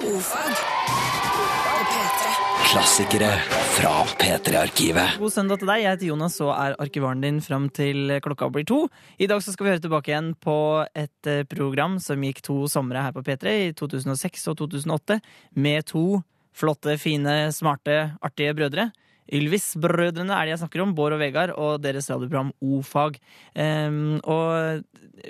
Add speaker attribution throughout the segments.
Speaker 1: Ordfag på P3.
Speaker 2: Klassikere fra P3-arkivet.
Speaker 3: God søndag til deg. Jeg heter Jonas og er arkivaren din fram til klokka blir to. I dag så skal vi høre tilbake igjen på et eh, program som gikk to somre her på P3, i 2006 og 2008, med to flotte, fine, smarte, artige brødre. Ylvis-brødrene er det jeg snakker om, Bård og Vegard, og deres radioprogram O-fag. Ehm, og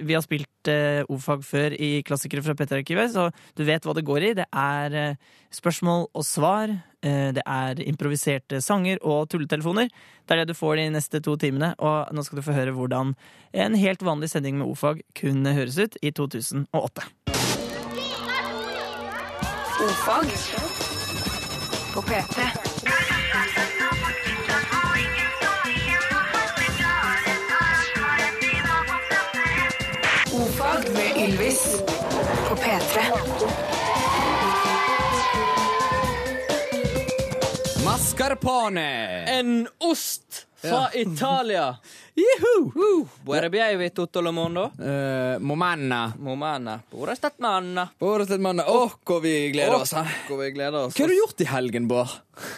Speaker 3: vi har spilt eh, O-fag før i klassikere fra P3-arkivet, så du vet hva det går i. Det er eh, spørsmål og svar, eh, det er improviserte sanger og tulletelefoner. Det er det du får de neste to timene, og nå skal du få høre hvordan en helt vanlig sending med O-fag kunne høres ut i 2008.
Speaker 1: Ordfag på P3. Ordfag med Ylvis på P3.
Speaker 4: Mascarpone!
Speaker 5: En ost fra Italia. Juhu! Buerebievi tutto il mondo.
Speaker 4: Eh, Momanna.
Speaker 5: Momene. Hvor er stedt manna?
Speaker 4: Åh, hvor vi gleder oss. Hva
Speaker 5: Hvor vi gleder oss.
Speaker 4: har du gjort i helgen, Bård?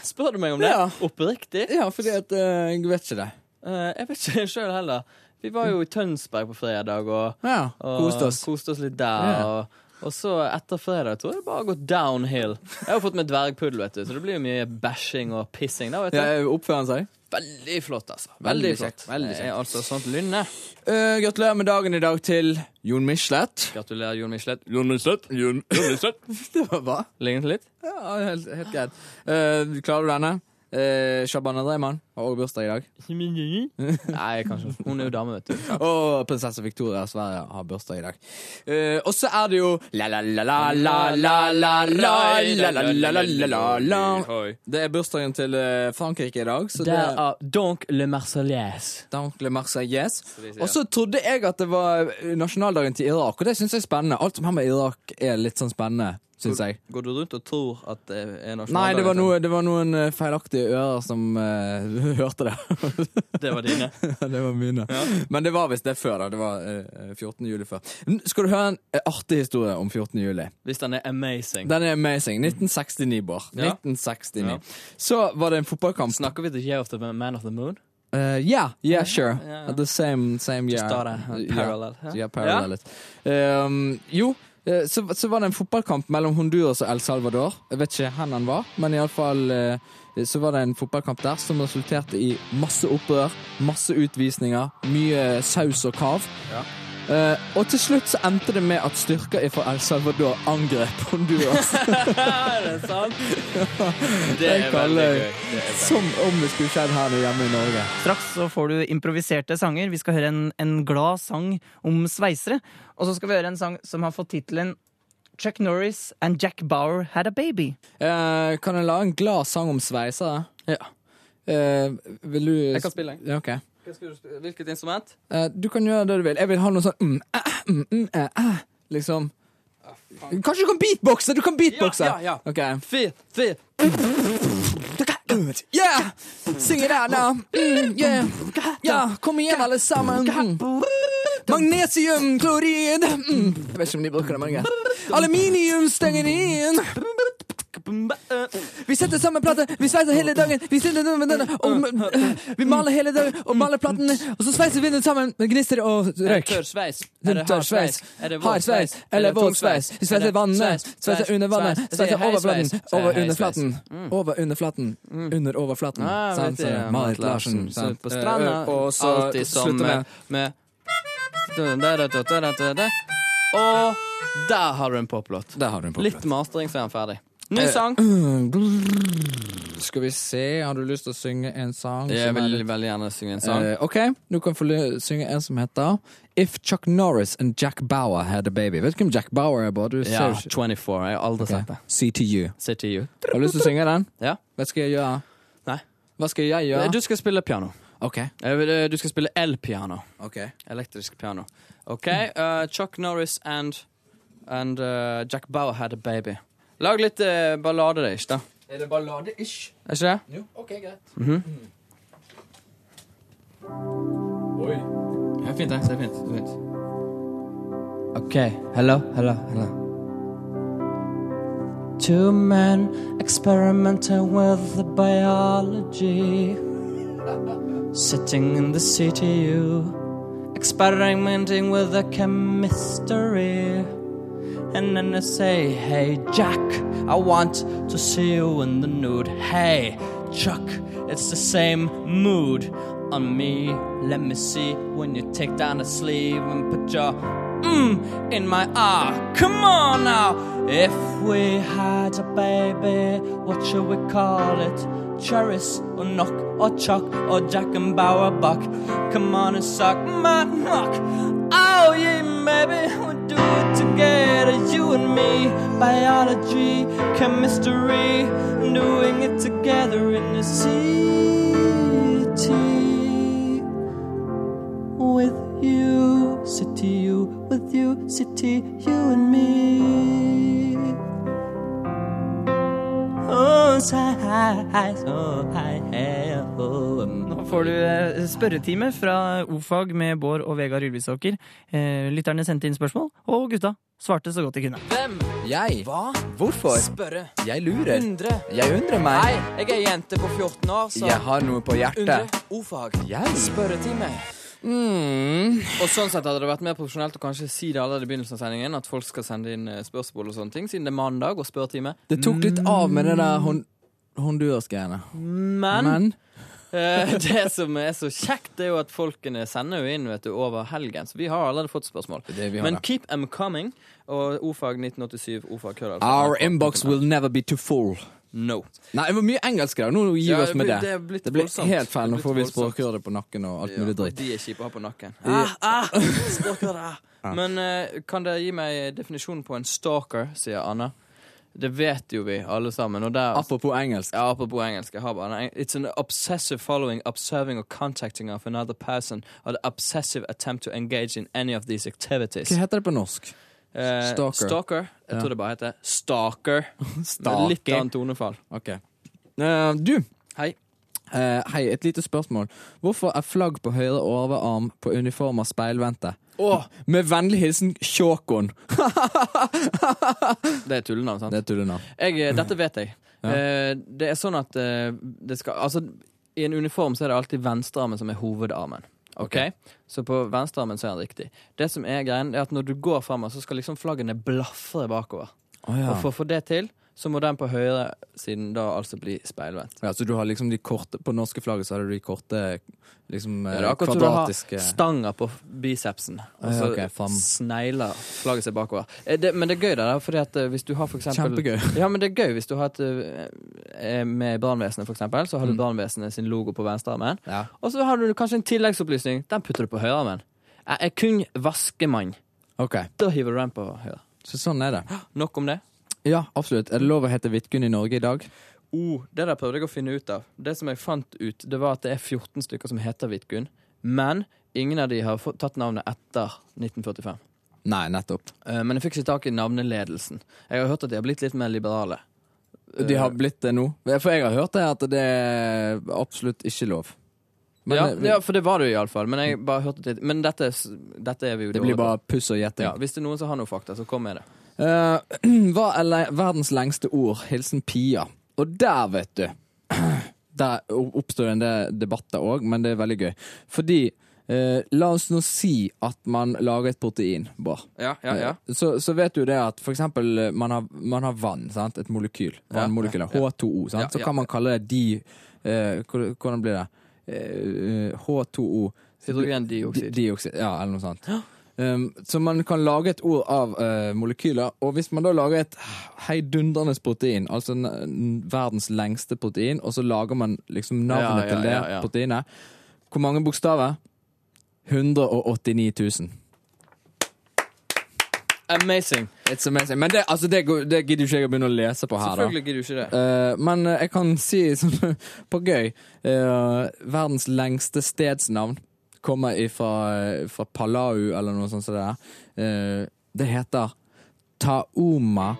Speaker 5: Spør du meg om det?
Speaker 4: Ja.
Speaker 5: Oppriktig?
Speaker 4: Ja, fordi at eh, Jeg vet ikke det.
Speaker 5: Eh, jeg vet ikke sjøl heller. Vi var jo i Tønsberg på fredag og,
Speaker 4: Ja,
Speaker 5: og
Speaker 4: Koste oss.
Speaker 5: koste oss litt der.
Speaker 4: Ja.
Speaker 5: Og, og så etter fredag tror jeg det bare har gått downhill. Jeg har jo fått meg dvergpuddel, vet du, så det blir jo mye bæsjing og pissing. Da, vet du.
Speaker 4: Ja, Oppfører han seg?
Speaker 5: Veldig flott, altså.
Speaker 4: Veldig
Speaker 5: Veldig,
Speaker 4: kjekt,
Speaker 5: flott.
Speaker 4: veldig
Speaker 5: Jeg er altså sånt lynne.
Speaker 4: Eh, gratulerer med dagen i dag til Jon Michelet.
Speaker 5: Gratulerer, Jon Michelet.
Speaker 4: Jon Michelet? Jon, Michelet? det var bra.
Speaker 5: Lignet litt?
Speaker 4: Ja, helt, helt greit. Eh, klarer du denne? Uh, Shabana Dreyman har også bursdag i dag.
Speaker 5: Nei, kanskje. Hun er jo dame, vet du.
Speaker 4: Og prinsesse Victoria av Sverige har bursdag i dag. Eh, og så er det jo la-la-la-la-la-la-la-la-la-la-la-la-la. Det er bursdagen til eh, Frankrike i dag, så det er
Speaker 5: Derav Donk le Marseillaise.
Speaker 4: Dancle Marseillaise.
Speaker 5: de sier.
Speaker 4: Og så trodde jeg at det var eh, nasjonaldagen til Irak, og det syns jeg er spennende. Alt som har med Irak er litt sånn spennende, syns jeg.
Speaker 5: Går du rundt og tror at det er nasjonaldagen?
Speaker 4: Nei, det var,
Speaker 5: til-
Speaker 4: noe, det var noen eh, feilaktige ører som eh, hørte det.
Speaker 5: Det var dine.
Speaker 4: det var mine. Men det var visst det før, da. Det var eh, 14. juli før. N- Skal du høre en eh, artig historie om 14. juli?
Speaker 5: Hvis den er amazing.
Speaker 4: Den er amazing. 1969, Bård.
Speaker 5: Ja.
Speaker 4: 1969.
Speaker 5: Ja.
Speaker 4: Så var det en fotballkamp.
Speaker 5: Snakker vi til Year of the Man of the Moon?
Speaker 4: Eh, yeah, yeah, sure.
Speaker 5: ja, ja.
Speaker 4: At The same, same year.
Speaker 5: Just da det er
Speaker 4: Ja.
Speaker 5: parallel, ja.
Speaker 4: Ja, parallel it. Um, jo, eh, så, så var det en fotballkamp mellom Honduras og El Salvador. Jeg vet ikke hvor han var, men iallfall uh, så var det en fotballkamp der som resulterte i masse opprør, masse utvisninger, mye saus og kav. Eh, og til slutt så endte det med at styrker fra El Salvador angrep Honduras.
Speaker 5: Er det sant? Det
Speaker 4: Jeg
Speaker 5: er veldig
Speaker 4: kaller-
Speaker 5: gøy. Det er
Speaker 4: som om det skulle skjedd her hjemme i Norge.
Speaker 3: Straks så får du improviserte sanger. Vi skal høre en, en glad sang om sveisere. Og så skal vi høre en sang som har fått tittelen Chuck Norris and Jack Bauer Had a Baby.
Speaker 4: Eh, kan jeg lage en glad sang om sveisere?
Speaker 5: Ja.
Speaker 4: Eh, vil du
Speaker 5: Jeg kan spille en.
Speaker 4: Ja, ok.
Speaker 5: Hvilket instrument?
Speaker 4: Eh, du kan gjøre det du vil. Jeg vil ha noe sånn mm, eh, mm, mm, eh, eh, Liksom. Kanskje du kan beatboxe? Du kan beatboxe!
Speaker 5: Ja, ja, ja.
Speaker 4: Ok.
Speaker 5: Fy, fy.
Speaker 4: Yeah! Sing it out now. Mm, yeah. Ja, kom igjen, alle sammen. Mm. Magnesiumklorid. Mm. Jeg vet ikke om de bruker det, men det er greit. Aluminiumstearin. Vi setter sammen plater, vi sveiser hele dagen. Vi, stiller den med denne, og, vi maler hele dagen og maler platene, og så sveiser vi den sammen med gnister og røyk.
Speaker 5: Tørr sveis.
Speaker 4: Er det hard sveis? Hard sveis? Eller våt sveis? Vi sveiser i vannet, sveiser under vannet, sveiser over flaten, over underflaten. Over underflaten, under overflaten.
Speaker 5: Mm. Ah,
Speaker 4: Sant,
Speaker 5: vet du,
Speaker 4: sant, Marit Larsen.
Speaker 5: Sunt
Speaker 4: sant.
Speaker 5: på stranda.
Speaker 4: Eh, Og så
Speaker 5: alltid som
Speaker 4: slutter med
Speaker 5: med, med Og der har du en poplåt.
Speaker 4: Der har du en
Speaker 5: Litt
Speaker 4: poplåt.
Speaker 5: mastering, så er den ferdig. Ny
Speaker 4: Eh,
Speaker 5: sang.
Speaker 4: Skal vi se, har du lyst til å synge en sang?
Speaker 5: Jeg
Speaker 4: som er
Speaker 5: vil
Speaker 4: litt-
Speaker 5: veldig gjerne synge en sang.
Speaker 4: Eh, ok, du kan få ly- synge en som heter If Chuck Norris and Jack Bauer Had a Baby. Vet du hvem Jack Bauer er, Bård? Du
Speaker 5: Ja,
Speaker 4: ser jo ikke
Speaker 5: 24. Jeg har aldri sett
Speaker 4: Ok,
Speaker 5: det.
Speaker 4: CTU.
Speaker 5: Se til you.
Speaker 4: Har du lyst til å synge den?
Speaker 5: Ja.
Speaker 4: Hva skal jeg gjøre?
Speaker 5: Nei.
Speaker 4: Hva skal jeg
Speaker 5: Eh,
Speaker 4: gjøre?
Speaker 5: Du skal spille piano.
Speaker 4: Ok.
Speaker 5: Eh, vil, eh, Du skal spille elpiano.
Speaker 4: Ok.
Speaker 5: Elektrisk piano. OK. eh, Chuck Norris and, and eh, Jack Bauer had a baby. Lag litt uh, ballade, det, ikke da?
Speaker 4: Er det ballade-ish?
Speaker 5: Er ikke det?
Speaker 4: Jo, ok, greit.
Speaker 5: Ja, fint, det. Det er fint. OK. Hello, hello, hello.
Speaker 6: Two men experimenting with the biology. Sitting in the CTU, experimenting with the chemistry. And then I say, Hey Jack, I want to see you in the nude. Hey Chuck, it's the same mood on me. Let me see when you take down the sleeve and put your mmm in my ah. Come on now. If we had a baby, what should we call it? Cherries or knock or chuck or Jack and Bauer buck. Come on and suck my knock. Oh yeah, maybe we'll do it together, you and me. Biology, chemistry, doing it together in the city with you, city you, with you, city you and me. Oh, I, oh, I have, oh, um.
Speaker 3: Nå får du eh, spørretime fra O-fag med Bård og Vegard Ylvisåker. Eh, Lytterne sendte inn spørsmål, og gutta svarte så godt de kunne.
Speaker 5: Hvem?
Speaker 2: Jeg?
Speaker 5: Hva?
Speaker 2: Hvorfor?
Speaker 5: Spørre.
Speaker 2: Jeg lurer.
Speaker 5: Undre.
Speaker 2: Jeg undrer meg.
Speaker 5: Nei, jeg er jente på 14 år, så
Speaker 2: Jeg har noe på
Speaker 5: Undre.
Speaker 2: hjertet.
Speaker 5: O-fag.
Speaker 2: Jeg?
Speaker 5: Spørretime.
Speaker 2: Hmm.
Speaker 5: Og sånn sett hadde det vært mer profesjonelt å kanskje si det allerede i begynnelsen av sendingen, at folk skal sende inn eh, spørsmål og sånne ting, siden det er mandag og spørretime.
Speaker 4: Det tok litt av med det der hon Honduras-greiene.
Speaker 5: Men,
Speaker 4: Men
Speaker 5: eh, det som er så kjekt, det er jo at folkene sender jo inn vet du, over helgen, så vi har allerede fått spørsmål.
Speaker 4: Det vi har,
Speaker 5: Men
Speaker 4: da.
Speaker 5: keep them coming, og ordfag 1987, ordfag køller.
Speaker 4: Our inbox will never be too full.
Speaker 5: No.
Speaker 4: Nei, det var mye engelsk der. Nå gir vi
Speaker 5: Ja,
Speaker 4: oss med
Speaker 5: det
Speaker 4: det.
Speaker 5: blir- det er blitt
Speaker 4: Det blir
Speaker 5: voldsomt.
Speaker 4: helt feil. Nå
Speaker 5: Det er
Speaker 4: får vi
Speaker 5: blitt voldsomt.
Speaker 4: språkrøde på nakken og alt mulig
Speaker 5: Ja,
Speaker 4: dritt.
Speaker 5: De er kjipe å ha på nakken. Ah, ah, stalker, ah. Men eh, kan dere gi meg definisjonen på en stalker, sier Anna. Det vet jo vi alle sammen. Og der,
Speaker 4: Apropos engelsk.
Speaker 5: ja, apropos engelsk. Jeg har bare en eng- It's an obsessive following, observing or contacting of another person or the obsessive attempt to engage in any of these activities.
Speaker 4: Hva heter det på norsk?
Speaker 5: Eh,
Speaker 4: Stalker.
Speaker 5: stalker. Jeg tror det bare heter stalker.
Speaker 4: Stalker.
Speaker 5: Litt annet tonefall.
Speaker 4: Ok. Eh, du.
Speaker 5: Hei.
Speaker 4: Eh, hei, et lite spørsmål. Hvorfor er flagg på høyre overarm på uniformer speilvendte?
Speaker 5: Åh,
Speaker 4: Med vennlig hilsen Sjåkon.
Speaker 5: det er tullenavn, sant?
Speaker 4: Det er tullenavn.
Speaker 5: Jeg, dette vet jeg. Eh, det er sånn at eh, det skal Altså, i en uniform så er det alltid venstrearmen som er hovedarmen. Ok? Så på venstrearmen så er den riktig. Det som er greien, er at når du går fremover, så skal liksom flaggene blafre bakover.
Speaker 4: Oh, ja.
Speaker 5: Og for å få det til, så må den på høyresiden da altså bli speilvendt.
Speaker 4: ja, så du har liksom de korte På norske flagget så hadde du de korte liksom,
Speaker 5: Det
Speaker 4: eh,
Speaker 5: er akkurat som du
Speaker 4: kvadratiske
Speaker 5: har stanger på bicepsen, og
Speaker 4: Ja,
Speaker 5: så
Speaker 4: ok, faen.
Speaker 5: snegler flagget seg bakover. Eh, Det, men det er gøy, det der, fordi at eh, hvis du har for eksempel
Speaker 4: Kjempegøy.
Speaker 5: Ja, men det er gøy hvis du har et eh, Med brannvesenet, for eksempel, så har
Speaker 4: Mm.
Speaker 5: du brannvesenet sin logo på venstrearmen.
Speaker 4: Ja.
Speaker 5: Og så har du kanskje en tilleggsopplysning. Den putter du på høyrearmen. Jeg er kun vaskemann.
Speaker 4: Ok,
Speaker 5: Da hiver du den på høyre.
Speaker 4: så sånn er det.
Speaker 5: Nok om det.
Speaker 4: Ja, absolutt. Er det lov å hete Vidkun i Norge i dag?
Speaker 5: Oh, det der prøvde jeg å finne ut av. Det som jeg fant ut, det var at det er 14 stykker som heter Vidkun, men ingen av de har fått- tatt navnet etter 1945.
Speaker 4: Nei, nettopp.
Speaker 5: Eh, Men jeg fikk ikke tak i navneledelsen. Jeg har hørt at de har blitt litt mer liberale. Eh.
Speaker 4: De har blitt det nå. For jeg har hørt det at det er absolutt ikke lov. Men
Speaker 5: ja,
Speaker 4: det,
Speaker 5: ja, for det var det jo iallfall. Men, jeg bare hørte det- men dette, s- dette er vi jo
Speaker 4: det blir
Speaker 5: dårlige på.
Speaker 4: bare puss og gjetting.
Speaker 5: ja, Hvis det er noen som har noe fakta, så kom med det.
Speaker 4: Eh, hva er le verdens lengste ord? Hilsen Pia. Og der, vet du Der o- oppstår en del debatter òg, men det er veldig gøy. Fordi eh, La oss nå si at man lager et protein, Bård.
Speaker 5: Ja, ja, ja.
Speaker 4: Så, så vet du det at for eksempel eh, man har, man har vann, sant? et molekyl. Vannmolekylet. H2O. Sant?
Speaker 5: Ja,
Speaker 4: så
Speaker 5: ja.
Speaker 4: kan man kalle det di... eh, hvor- hvordan blir det? Eh, H2O.
Speaker 5: Hydrogendioksid.
Speaker 4: Di- dioksid, Ja, eller noe sånt. Um, så man kan lage et ord av eh, molekyler, og hvis man da lager et heidundrende protein, altså n n- verdens lengste protein, og så lager man liksom navnet
Speaker 5: Ja, ja,
Speaker 4: til det
Speaker 5: ja, ja.
Speaker 4: proteinet Hvor mange bokstaver? 189 000.
Speaker 5: Amazing!
Speaker 4: It's amazing. Men det, altså, det, går- det gidder jo ikke jeg å begynne å lese på her, da.
Speaker 5: Selvfølgelig gidder du ikke det.
Speaker 4: Eh, men eh, jeg kan si sånn på gøy eh, Verdens lengste stedsnavn kommer ifra, eh, fra Palau eller noe sånt som det der. Eh, det heter Tauma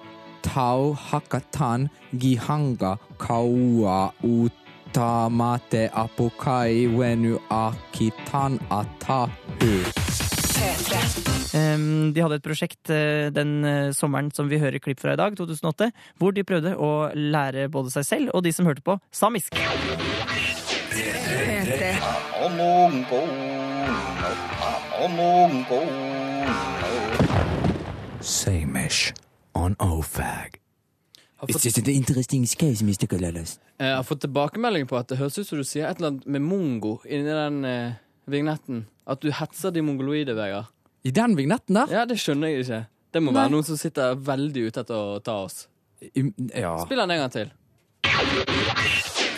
Speaker 4: Tau Hakatan Gihanga Kaua Utamate Apokai Wenu Akitan Atahu.
Speaker 1: P3.
Speaker 3: Ehm, De hadde et prosjekt eh, den eh, sommeren som vi hører klipp fra i dag, 2008, hvor de prøvde å lære både seg selv og de som hørte på, samisk.
Speaker 1: P3.
Speaker 2: Samish on OFAG.
Speaker 5: Har
Speaker 2: It's
Speaker 5: fått,
Speaker 2: just an interesting case, Mr. Kalalas.
Speaker 5: eh, har fått tilbakemelding på at det høres ut som du sier et eller annet med mongo inni den eh, vignetten. At du hetser de mongoloide, Vegard.
Speaker 4: I den vignetten der?
Speaker 5: Ja, det skjønner jeg ikke. Det må være noen som sitter veldig ute etter å ta oss.
Speaker 4: I- Ja.
Speaker 5: Spill den en gang til.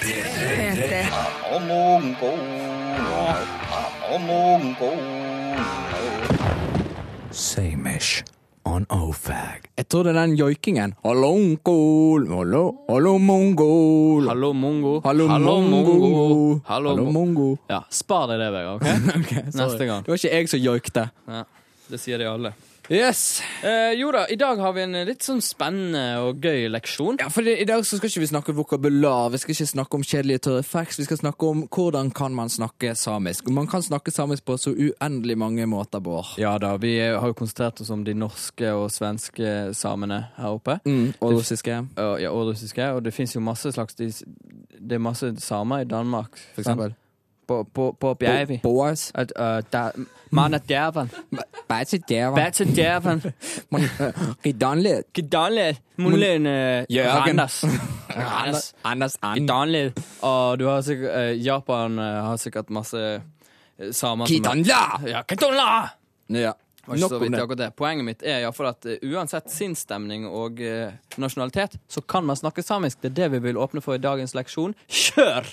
Speaker 1: P3.
Speaker 2: Samish on OFAG.
Speaker 4: Jeg tror det er den joikingen. Hallo, onkol. Hallo, hallo, mongol.
Speaker 5: Hallo, mongo.
Speaker 4: Hallo, mongo.
Speaker 5: Hallo,
Speaker 4: Hallo,
Speaker 5: mongo.
Speaker 4: mongo.
Speaker 5: Ja, spar deg det, Vegard. ok? Neste gang.
Speaker 4: Det var ikke jeg som joikte.
Speaker 5: Ja, det sier de alle.
Speaker 4: Yes.
Speaker 5: Eh, jo da, i dag har vi en litt sånn spennende og gøy leksjon.
Speaker 4: Ja, for det, I dag så skal ikke vi snakke vokabular, vi skal ikke snakke om kjedelige tørre facts. Vi skal snakke om hvordan kan man snakke samisk. Og Man kan snakke samisk på så uendelig mange måter, Bård.
Speaker 5: Ja da, vi har jo konsentrert oss om de norske og svenske samene her oppe.
Speaker 4: Mm, og russiske.
Speaker 5: Og- Ja, og russiske. Og det fins jo masse slags de, Det er masse samer i Danmark.
Speaker 4: For eksempel.
Speaker 5: På, på, på Bjervi.
Speaker 4: Boas.
Speaker 5: At, eh, da- Man er djerven.
Speaker 4: Ah. Bæsje djeva.
Speaker 5: Bætsje djerven.
Speaker 4: Gidanle.
Speaker 5: Gdanlid. Mulig
Speaker 4: Jørgen.
Speaker 5: øh, Randers. Randers.
Speaker 4: Anders
Speaker 5: I
Speaker 4: And.
Speaker 5: Danlid. Og du har sikkert, eh, Japan eh, har sikkert masse eh, samer som
Speaker 4: Gidanla!
Speaker 5: Ja, Kitanla!
Speaker 4: Ja.
Speaker 5: Var ikke
Speaker 4: Nok
Speaker 5: så
Speaker 4: om
Speaker 5: vidt
Speaker 4: det.
Speaker 5: akkurat det. Poenget mitt er iallfall at eh, uansett sinnsstemning og eh, nasjonalitet, så kan man snakke samisk. Det er det vi vil åpne for i dagens leksjon. Kjør!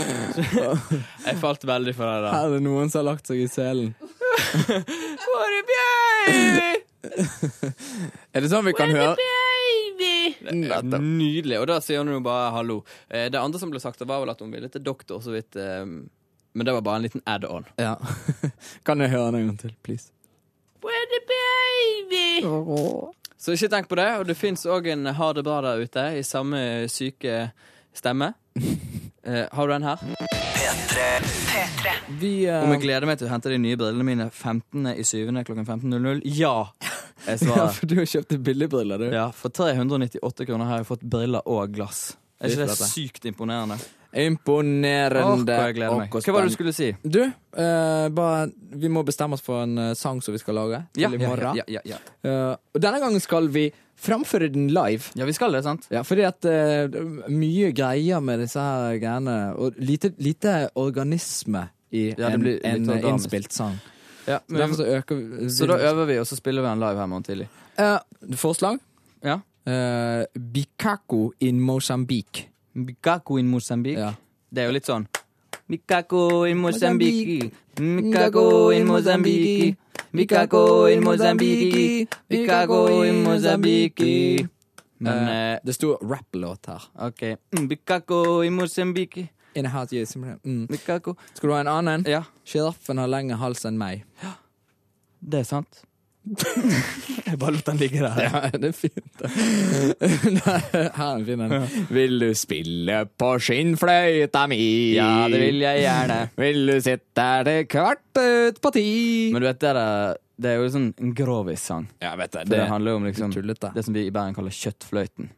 Speaker 5: Jeg falt veldig for det der.
Speaker 4: Her er det noen som har lagt seg i selen.
Speaker 7: Puede baby.
Speaker 4: Er det sånn vi kan høre?
Speaker 7: Baby.
Speaker 5: Nydelig. Og da sier hun jo bare hallo. Eh, Det andre som ble sagt, det var vel at hun ville til doktor, så vidt. eh, Men det var bare en liten add-on.
Speaker 4: Ja. Kan jeg høre den en gang til, please?
Speaker 7: Puede baby.
Speaker 5: Så ikke tenk på det. Og det fins òg en ha det bra der ute i samme syke stemme. Eh, har du den her?
Speaker 4: Vi eh,
Speaker 5: Om jeg gleder meg til å hente de nye brillene mine 15. i 7. klokken 15.00? Ja! Jeg
Speaker 4: Ja,
Speaker 5: svarer.
Speaker 4: for du har kjøpt billigbriller, du.
Speaker 5: Ja, for 398 kroner har jeg fått briller og glass. Er ikke det
Speaker 4: Flott, da.
Speaker 5: sykt imponerende? Åh,
Speaker 4: Imponerende.
Speaker 5: hvor jeg gleder meg.
Speaker 4: og
Speaker 5: Hva var det
Speaker 4: spennende.
Speaker 5: du skulle si?
Speaker 4: Du, eh, bare, vi må bestemme oss for en eh, sang som vi skal lage til i morgen.
Speaker 5: ja, ja, ja.
Speaker 4: Eh, og denne gangen skal vi framføre den live.
Speaker 5: ja, vi skal det, sant?
Speaker 4: Ja, fordi at eh, mye greier med disse her greiene, og lite, lite organisme i
Speaker 5: Ja, det
Speaker 4: en,
Speaker 5: blir litt
Speaker 4: en
Speaker 5: sånn damisk.
Speaker 4: innspilt sang.
Speaker 5: Ja,
Speaker 4: Så derfor
Speaker 5: men,
Speaker 4: så øker vi
Speaker 5: så da øver vi, og så spiller vi en live her i morgen tidlig.
Speaker 4: Eh, Forslag?
Speaker 5: Ja.
Speaker 4: Eh, Bikako in Mosambik.
Speaker 5: Mikako in Mosambik.
Speaker 4: Ja.
Speaker 5: Det er jo litt sånn Mikako in Mosambiki.
Speaker 4: Mozambiki.
Speaker 5: Mikako in Mosambiki. Mikako in Mosambiki. Mikako in Mosambiki. Men
Speaker 4: Eh,
Speaker 5: eh,
Speaker 4: det sto rap-låt her.
Speaker 5: OK. Mikako in Mosambiki.
Speaker 4: In a hot year, mm.
Speaker 5: Mikako
Speaker 4: Skal du ha en annen?
Speaker 5: Ja,
Speaker 4: Sjiraffen har lengre hals enn meg.
Speaker 5: det er sant. Jeg bare lot den ligge der.
Speaker 4: Ja, det er fint. Nei, Her er en fin en. Vil du spille på skinnfløyta mi?
Speaker 5: Ja, det vil jeg gjerne.
Speaker 4: Vil du sitte til kvart ut på ti?
Speaker 5: Men du vet, det, der, det er jo sånn en grovis-sang.
Speaker 4: ja, vet du,
Speaker 5: For det handler jo om liksom,
Speaker 4: tullete.
Speaker 5: det som vi i Bergen kaller kjøttfløyten.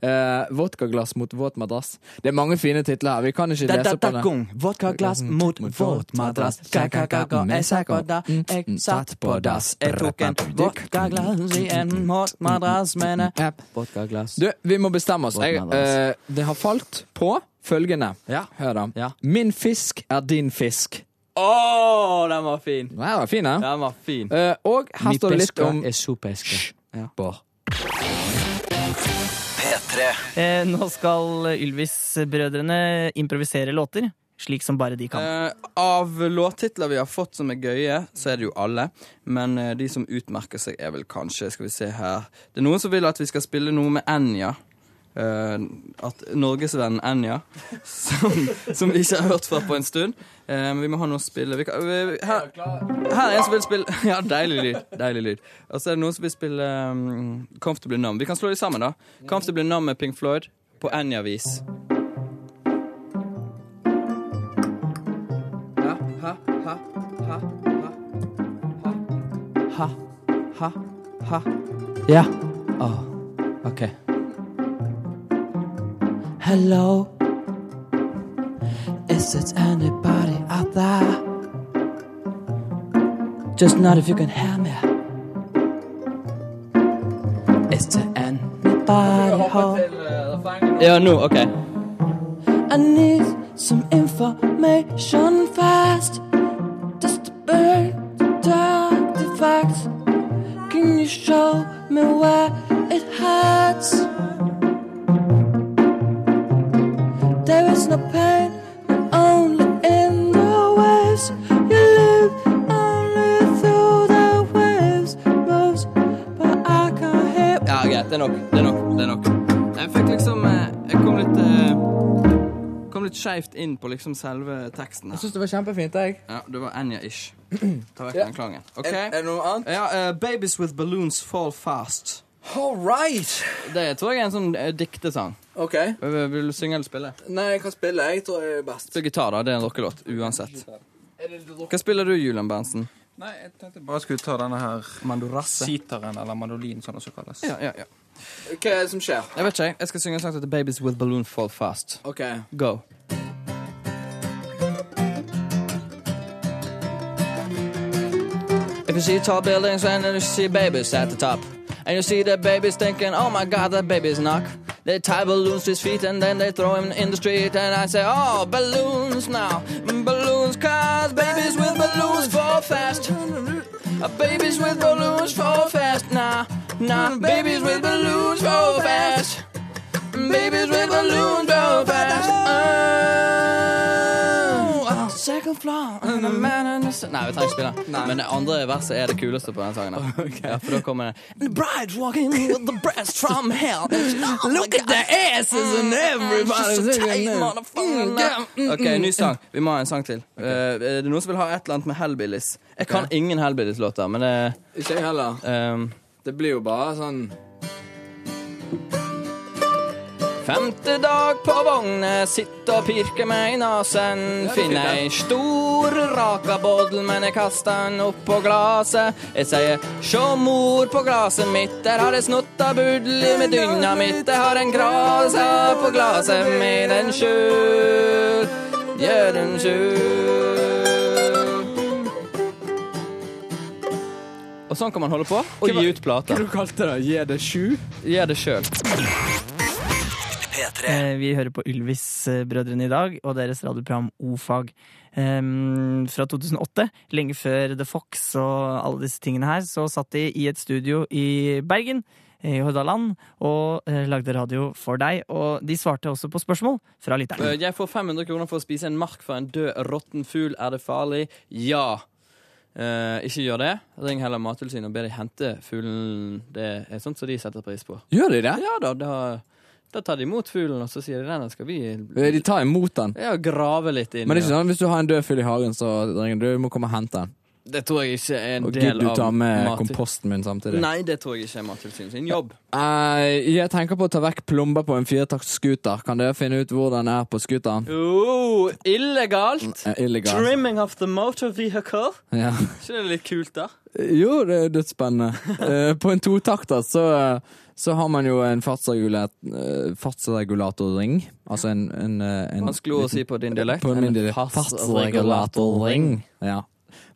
Speaker 4: Eh, vodkaglass mot våt madrass. Det er mange fine titler her. Vi kan ikke lese på det.
Speaker 5: Vodkaglass
Speaker 4: mot våtmadrass. Ka-ka-ka-ka, jeg satt på da.
Speaker 2: Mm,
Speaker 4: Jeg satt på dass. Jeg tok en vodkaglass
Speaker 5: i en våtmadrass, mener
Speaker 4: Ja.
Speaker 5: Vodkaglass.
Speaker 4: Du, vi må bestemme oss. Jeg, eh, det har falt på følgende.
Speaker 5: Ja.
Speaker 4: Hør, da.
Speaker 5: Ja.
Speaker 4: Min fisk er din fisk.
Speaker 5: Å, den var fin!
Speaker 4: Den var fin, den.
Speaker 5: Den var fin.
Speaker 4: Eh, og her står det litt om
Speaker 5: sopeske.
Speaker 4: Bård.
Speaker 3: Eh, nå skal Ylvis-brødrene improvisere låter. slik som bare de kan.
Speaker 5: Eh, av låttitler vi har fått som er gøye, så er det jo alle. Men eh, de som utmerker seg, er vel kanskje Skal vi se her Det er noen som vil at vi skal spille noe med Enja. Eh, at Norgesvennen Enja, som, som vi ikke har hørt fra på en stund. Eh, men vi må ha noe å spille. Vi kan, vi, vi- her, her er en som vil spille Ja, deilig lyd. Deilig lyd. Og så er det noen som vil spille um, Comfortably Numb. Vi kan slå de sammen, da. Comfortably Numb med Pink Floyd på Enja-vis. Ha, ha, ha, ha, ha. Ha, ha, ha.
Speaker 6: Yeah.
Speaker 5: Ah, OK.
Speaker 6: Hello. Is it anybody out there? Just not if you can hear me. Is there anybody home?
Speaker 5: Ja, nå. OK.
Speaker 6: I need some information fast. Just to break down the facts. Can you show me where it hurts? There is no pain, but only in the waves. You live only through the waves, moves, but I can't hear.
Speaker 5: Ja, greit. Det er nok. Det er nok. Det er nok. Jeg fikk liksom eh, Jeg kom litt eh, Kom litt skeivt inn på liksom selve teksten her.
Speaker 4: syns det var kjempefint, jeg.
Speaker 5: Ja, det var Enya-ish. Ta vekk den klangen. OK?
Speaker 4: Er det noe annet?
Speaker 5: Ja, eh, 'Babies With Balloons Fall Fast'.
Speaker 4: All right!
Speaker 5: Det tror jeg er en sånn eh, diktesang.
Speaker 4: OK.
Speaker 5: Vil vil du synge eller spille?
Speaker 4: Nei, jeg kan spille. Jeg tror jeg er best.
Speaker 5: Spill gitar, da. Det er en rockelåt uansett. Hva spiller du, Julian Berntsen?
Speaker 8: Nei, jeg tenkte bare skulle ta denne her
Speaker 5: Mandorasse.
Speaker 8: sitaren, eller mandolin, som det også kalles.
Speaker 5: Ja, ja, ja.
Speaker 4: Hva er det som skjer?
Speaker 5: Jeg vet ikke. Jeg skal synge en sang som heter 'Babies With Balloon Fall Fast'.
Speaker 4: OK.
Speaker 5: Go. If you see tall buildings and then you see babies at the top, and you see the babies thinking, oh my god, that baby's knock. They tie balloons to his feet and then they throw him in the street, and I say, oh, balloons now, balloons, cause babies with balloons fall fast. Uh, Babies with balloons fall fast now, nah, babies with balloons fall fast. Babies with balloons go fast. Oh, oh, second floor and a man in the se- Nei, vi trenger ikke spille den. Men det andre verset er det kuleste på den sangen. her. Ja, for da kommer det And the bride's walking with the breast from hell. Look at the Mm-hmm. asses and everybody's Mm-hmm. OK, ny sang. Vi må ha en sang til. Eh, er det noen som vil ha et eller annet med Hellbillies? Jeg kan ingen Hellbillies-låter, men det
Speaker 4: Ikke jeg heller.
Speaker 5: ehm,
Speaker 4: Det blir jo bare sånn
Speaker 5: Femte dag på vogne, sitte og pirke meg i nasen. Finne ei stor rakaboddel, men jeg kaster den opp på glaset. Jeg sier sjå mor på glaset mitt, der har jeg snotta budli med dynna mitt. Jeg har en grasa på glaset med den skjul, gjør den skjul. Og sånn kan man holde på og gi ut plater.
Speaker 4: du kalte det? Gi det sju?
Speaker 5: Gjør det sjøl.
Speaker 3: Eh, Vi hører på Ylvis-brødrene i dag og deres radioprogram O-fag. Ehm, fra 2008, lenge før The Fox og alle disse tingene her, så satt de i et studio i Bergen, i Hordaland, og eh, lagde radio for deg. Og de svarte også på spørsmål fra lytterne.
Speaker 5: Eh, Jeg får 500 kroner for å spise en mark fra en død, råtten fugl. Er det farlig? Ja. Eh, ikke gjør det. Ring heller Mattilsynet og be de hente fuglen. Det er sånt som de setter pris på.
Speaker 4: Gjør de det?
Speaker 5: Ja da, da, da tar de imot fuglen, og så sier de den skal vi
Speaker 4: Eh, De tar imot den.
Speaker 5: ja, grave litt inn
Speaker 4: Men det er
Speaker 5: i."
Speaker 4: ikke sånn at hvis du har en død fyll i hagen, så ringer du, du må komme og hente den.
Speaker 5: Det tror jeg ikke er en
Speaker 4: Og
Speaker 5: del
Speaker 4: gidder du
Speaker 5: av
Speaker 4: ta med
Speaker 5: Mattil-
Speaker 4: komposten min samtidig?
Speaker 5: Nei, det tror jeg ikke er Mattilsynet sin jobb.
Speaker 4: Eh, jeg tenker på å ta vekk plomber på en firetakts scooter. Kan dere finne ut hvor den er på scooteren?
Speaker 5: Oh, illegalt!
Speaker 4: Eh, Illegal.
Speaker 5: Trimming of the motor vehicle.
Speaker 4: Ja.
Speaker 5: Ikke det litt kult, da?
Speaker 4: Jo, det er dødsspennende. Eh, på en totakter så, så har man jo en fartsregulat, eh, fartsregulatorring. Altså en, en, eh, en
Speaker 5: Vanskelig å si på din dialekt.
Speaker 4: På min
Speaker 5: En
Speaker 4: dialekt.
Speaker 5: fartsregulatorring.
Speaker 4: Fartsregulatorring. Ja.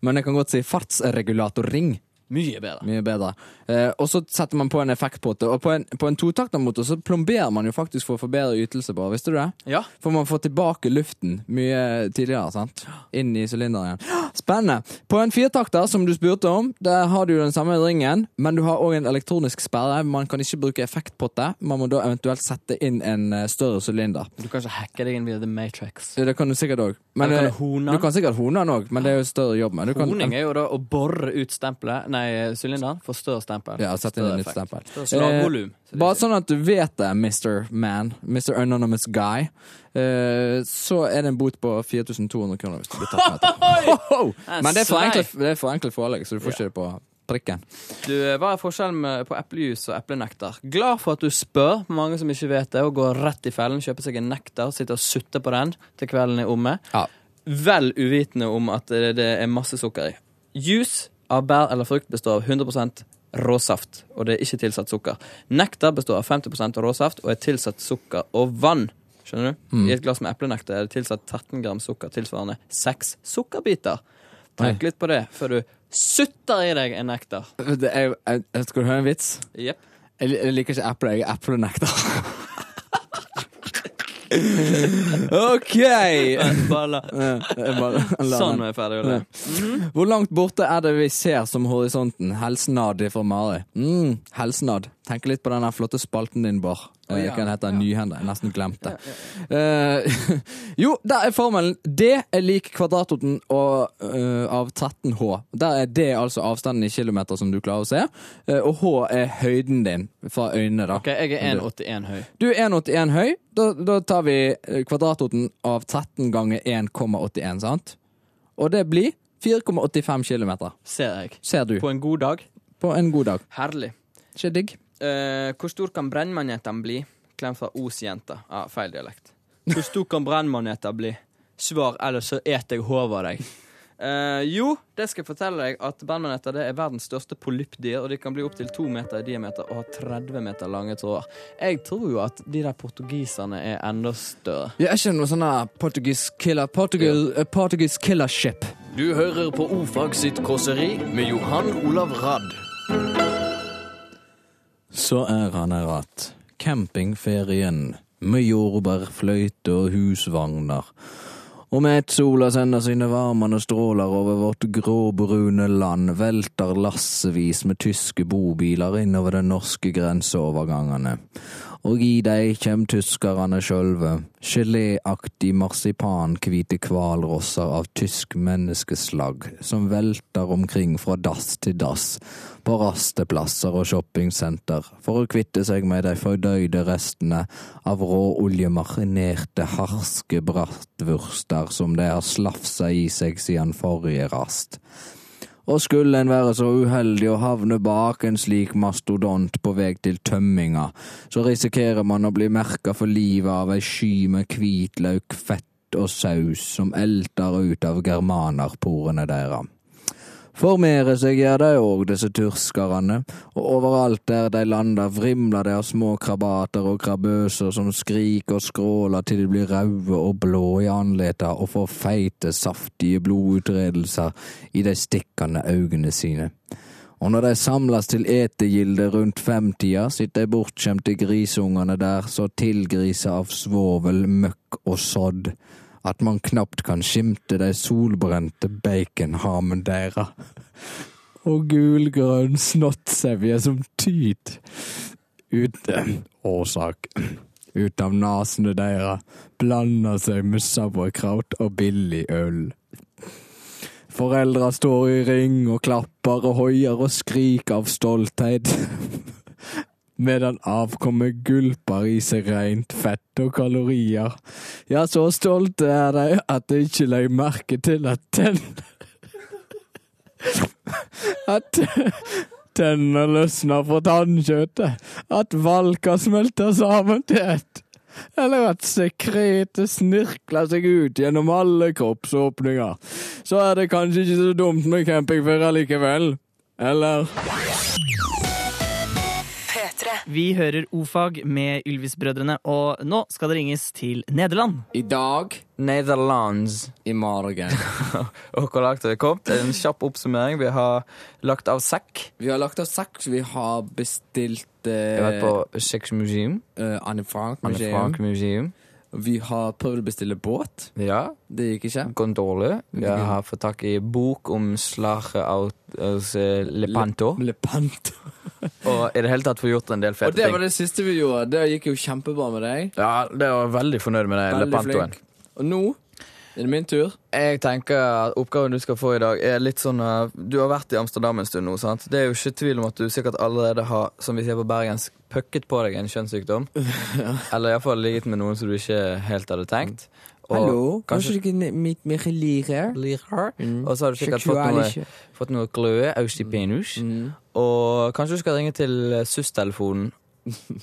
Speaker 4: Men jeg kan godt si fartsregulatorring.
Speaker 5: Mye bedre.
Speaker 4: Mye bedre. Eh, og så setter man på en effektpotte. Og på en, på en totaktermotor så plomberer man jo faktisk for å få bedre ytelse på, visste du det?
Speaker 5: Ja.
Speaker 4: For man får tilbake luften mye tidligere, sant? Inn i sylinderen igjen. Spennende. På en firetakter, som du spurte om, der har du jo den samme ringen, men du har òg en elektronisk sperre. Man kan ikke bruke effektpotte. Man må da eventuelt sette inn en eh, større sylinder.
Speaker 5: Du kan ikke hacke deg inn via The Matrix.
Speaker 4: Ja, Det kan du sikkert òg. Men
Speaker 5: Eller kan
Speaker 4: eh,
Speaker 5: du hone den?
Speaker 4: du kan sikkert hone den òg, men det er jo større jobb. Men du kan,
Speaker 5: Honing er jo da å bore ut stempelet, nei, sylinderen, for større stempel.
Speaker 4: ja, sette inn
Speaker 5: Større
Speaker 4: et nytt
Speaker 5: effekt.
Speaker 4: stempel.
Speaker 5: Større slagvolum. så det
Speaker 4: Bare
Speaker 5: vil si.
Speaker 4: sånn at du vet det, Mr. Man. Mr. Anonymous Guy. Eh, så er det en bot på 4200 kroner hvis du blir tatt med det. Ho, ho! Men det er forenklet det er forenklet forelegg, så du får ikke det på prikken.
Speaker 5: Du, Hva er forskjellen med- på eplejus og eplenektar? Glad for at du spør, mange som ikke vet det, og går rett i fellen, kjøper seg en nektar, sitter og sutter på den til kvelden er omme.
Speaker 4: Ja.
Speaker 5: Vel uvitende om at det det er masse sukker i. Juice av bær eller frukt består av 100 råsaft, og det er ikke tilsatt sukker. Nektar består av 50 råsaft og er tilsatt sukker og vann. Skjønner du? I et glass med eplenektar er det tilsatt 13 gram sukker, tilsvarende seks sukkerbiter. Tenk litt på det før du sutter i deg en nektar.
Speaker 4: Det er, jo- jeg, jeg- skal du høre en vits?
Speaker 5: Jepp.
Speaker 4: Jeg, li- jeg liker ikke eple, jeg er eplenektar. OK!
Speaker 5: Balla.
Speaker 4: Ja, jeg bare- la den.
Speaker 5: Sånn er jeg ferdig å le.
Speaker 4: Hvor langt borte er det vi ser som horisonten? Helsenad fra Mari. Mm, helsenad. Tenk litt på den der flotte spalten din, Bård. Oh,
Speaker 5: ja.
Speaker 4: Hva den heter Nyhende. Jeg nesten glemt det. Eh, jo, der er formelen. D er lik kvadratroten og, eh, av 13H. Der er D altså avstanden i kilometer som du klarer å se, eh, og H er høyden din fra øynene, da.
Speaker 5: Ok, jeg er 1,81 høy.
Speaker 4: Du er 1,81 høy. Da, da tar vi eh, kvadratroten av 13 ganger 1,81, sant? Og det blir 4,85 kilometer.
Speaker 5: Ser jeg.
Speaker 4: Ser du.
Speaker 5: På en god dag.
Speaker 4: På en god dag.
Speaker 5: Herlig.
Speaker 4: Ikke digg?
Speaker 5: Eh, hvor stor kan brennmaneten bli? Klem fra Os-jenta. Ah, feil dialekt. Hvor stor kan brennmaneten bli? Svar, ellers så eter jeg hodet av deg. Eh, jo, det skal jeg fortelle deg at brennmaneter det er verdens største polypdyr, og de kan bli opptil to meter i diameter og ha 30 meter lange tråder. Jeg tror jo at de der portugiserne er enda større.
Speaker 4: Jeg er ikke noe sånn her Portuguese killer Portugal, eh, Portuguese killer ship.
Speaker 9: Du hører på Ofag sitt kåseri med Johan Olav Radd.
Speaker 4: Så er han her att. Campingferien. Med jordbærfløyte og husvogner. Og med ett sola sender sine varmende stråler over vårt gråbrune land, velter lassevis med tyske bobiler innover den norske grenseovergangene. Og i dei kjem tyskerne sjølve, geléaktig marsipankvite hvalrosser av tysk menneskeslag, som velter omkring fra dass til dass, på rasteplasser og shoppingsenter, for å kvitte seg med de fordøyde restene av råoljemarinerte harske brattvurster som de har slafsa i seg siden forrige rast. Og skulle en være så uheldig å havne bak en slik mastodont på vei til tømminga, så risikerer man å bli merka for livet av ei sky med hvitløk, fett og saus som elter ut av germanerporene deres. Formere seg gjør de òg, disse turskerne, og overalt der de lander, vrimler de av små krabater og krabøser som skriker og skråler til de blir røde og blå i anletet og får feite, saftige blodutredelser i de stikkende øynene sine. Og når de samles til etegilde rundt femtida, sitter de bortskjemte grisungene der så tilgrisa av svovel, møkk og sodd at man knapt kan skimte de solbrente baconharmen deres. Og gulgrønn snottsevje som tyt uten årsak ut av nesene deres, blander seg med sauerkraut og billig øl. Foreldra står i ring og klapper og hoier og skriker av stolthet. Medan avkommet gulper i seg rent fett og kalorier. Ja, så stolte er de at de ikke legger merke til at tenn... At tenner løsner fra tannkjøttet. At valker smelter sammen til ett. Eller at sekretet snirkler seg ut gjennom alle kroppsåpninger. Så er det kanskje ikke så dumt med campingferie likevel. Eller?
Speaker 1: P3.
Speaker 3: Vi hører O-fag med Ylvis-brødrene, og nå skal det ringes til Nederland.
Speaker 4: I dag,
Speaker 5: Netherlands.
Speaker 4: i morgen.
Speaker 5: Og hvor langt har vi kommet? En kjapp oppsummering. Vi har lagt av sekk.
Speaker 4: Vi har lagt oss saks, vi har bestilt
Speaker 5: Vi har
Speaker 4: eh,
Speaker 5: vært på sexmuseum.
Speaker 4: eh, Anne Frank
Speaker 5: Anne
Speaker 4: museum.
Speaker 5: Frank museum.
Speaker 4: Vi har prøvd å bestille båt.
Speaker 5: Ja.
Speaker 4: Det gikk ikke.
Speaker 5: Gått dårlig. Vi har fått tak i bok om slaget av hos, eh, Lepanto.
Speaker 4: Lepanto.
Speaker 5: Og i det hele tatt få gjort en del
Speaker 4: Og
Speaker 5: fete
Speaker 4: det var
Speaker 5: ting.
Speaker 4: det siste vi gjorde. Det gikk jo kjempebra med deg.
Speaker 5: Ja, det var veldig fornøyd med det,
Speaker 4: Veldig
Speaker 5: Lepantoen.
Speaker 4: flink. Og nå er det min tur.
Speaker 5: Jeg tenker at oppgaven du skal få i dag, er litt sånn eh, Du har vært i Amsterdam en stund nå, sant? Det er jo ikke tvil om at du sikkert allerede har, som vi sier på bergensk, pøkket på deg en kjønnssykdom. Eller iallfall ligget med noen som du ikke helt hadde tenkt. Og kanskje
Speaker 4: du kunne mitt mer lire?
Speaker 5: blir her. Og så har du sikkert fått noe, fått noe gløe aus i penis.
Speaker 4: Mm.
Speaker 5: Og kanskje du skal ringe til eh, SUS-telefonen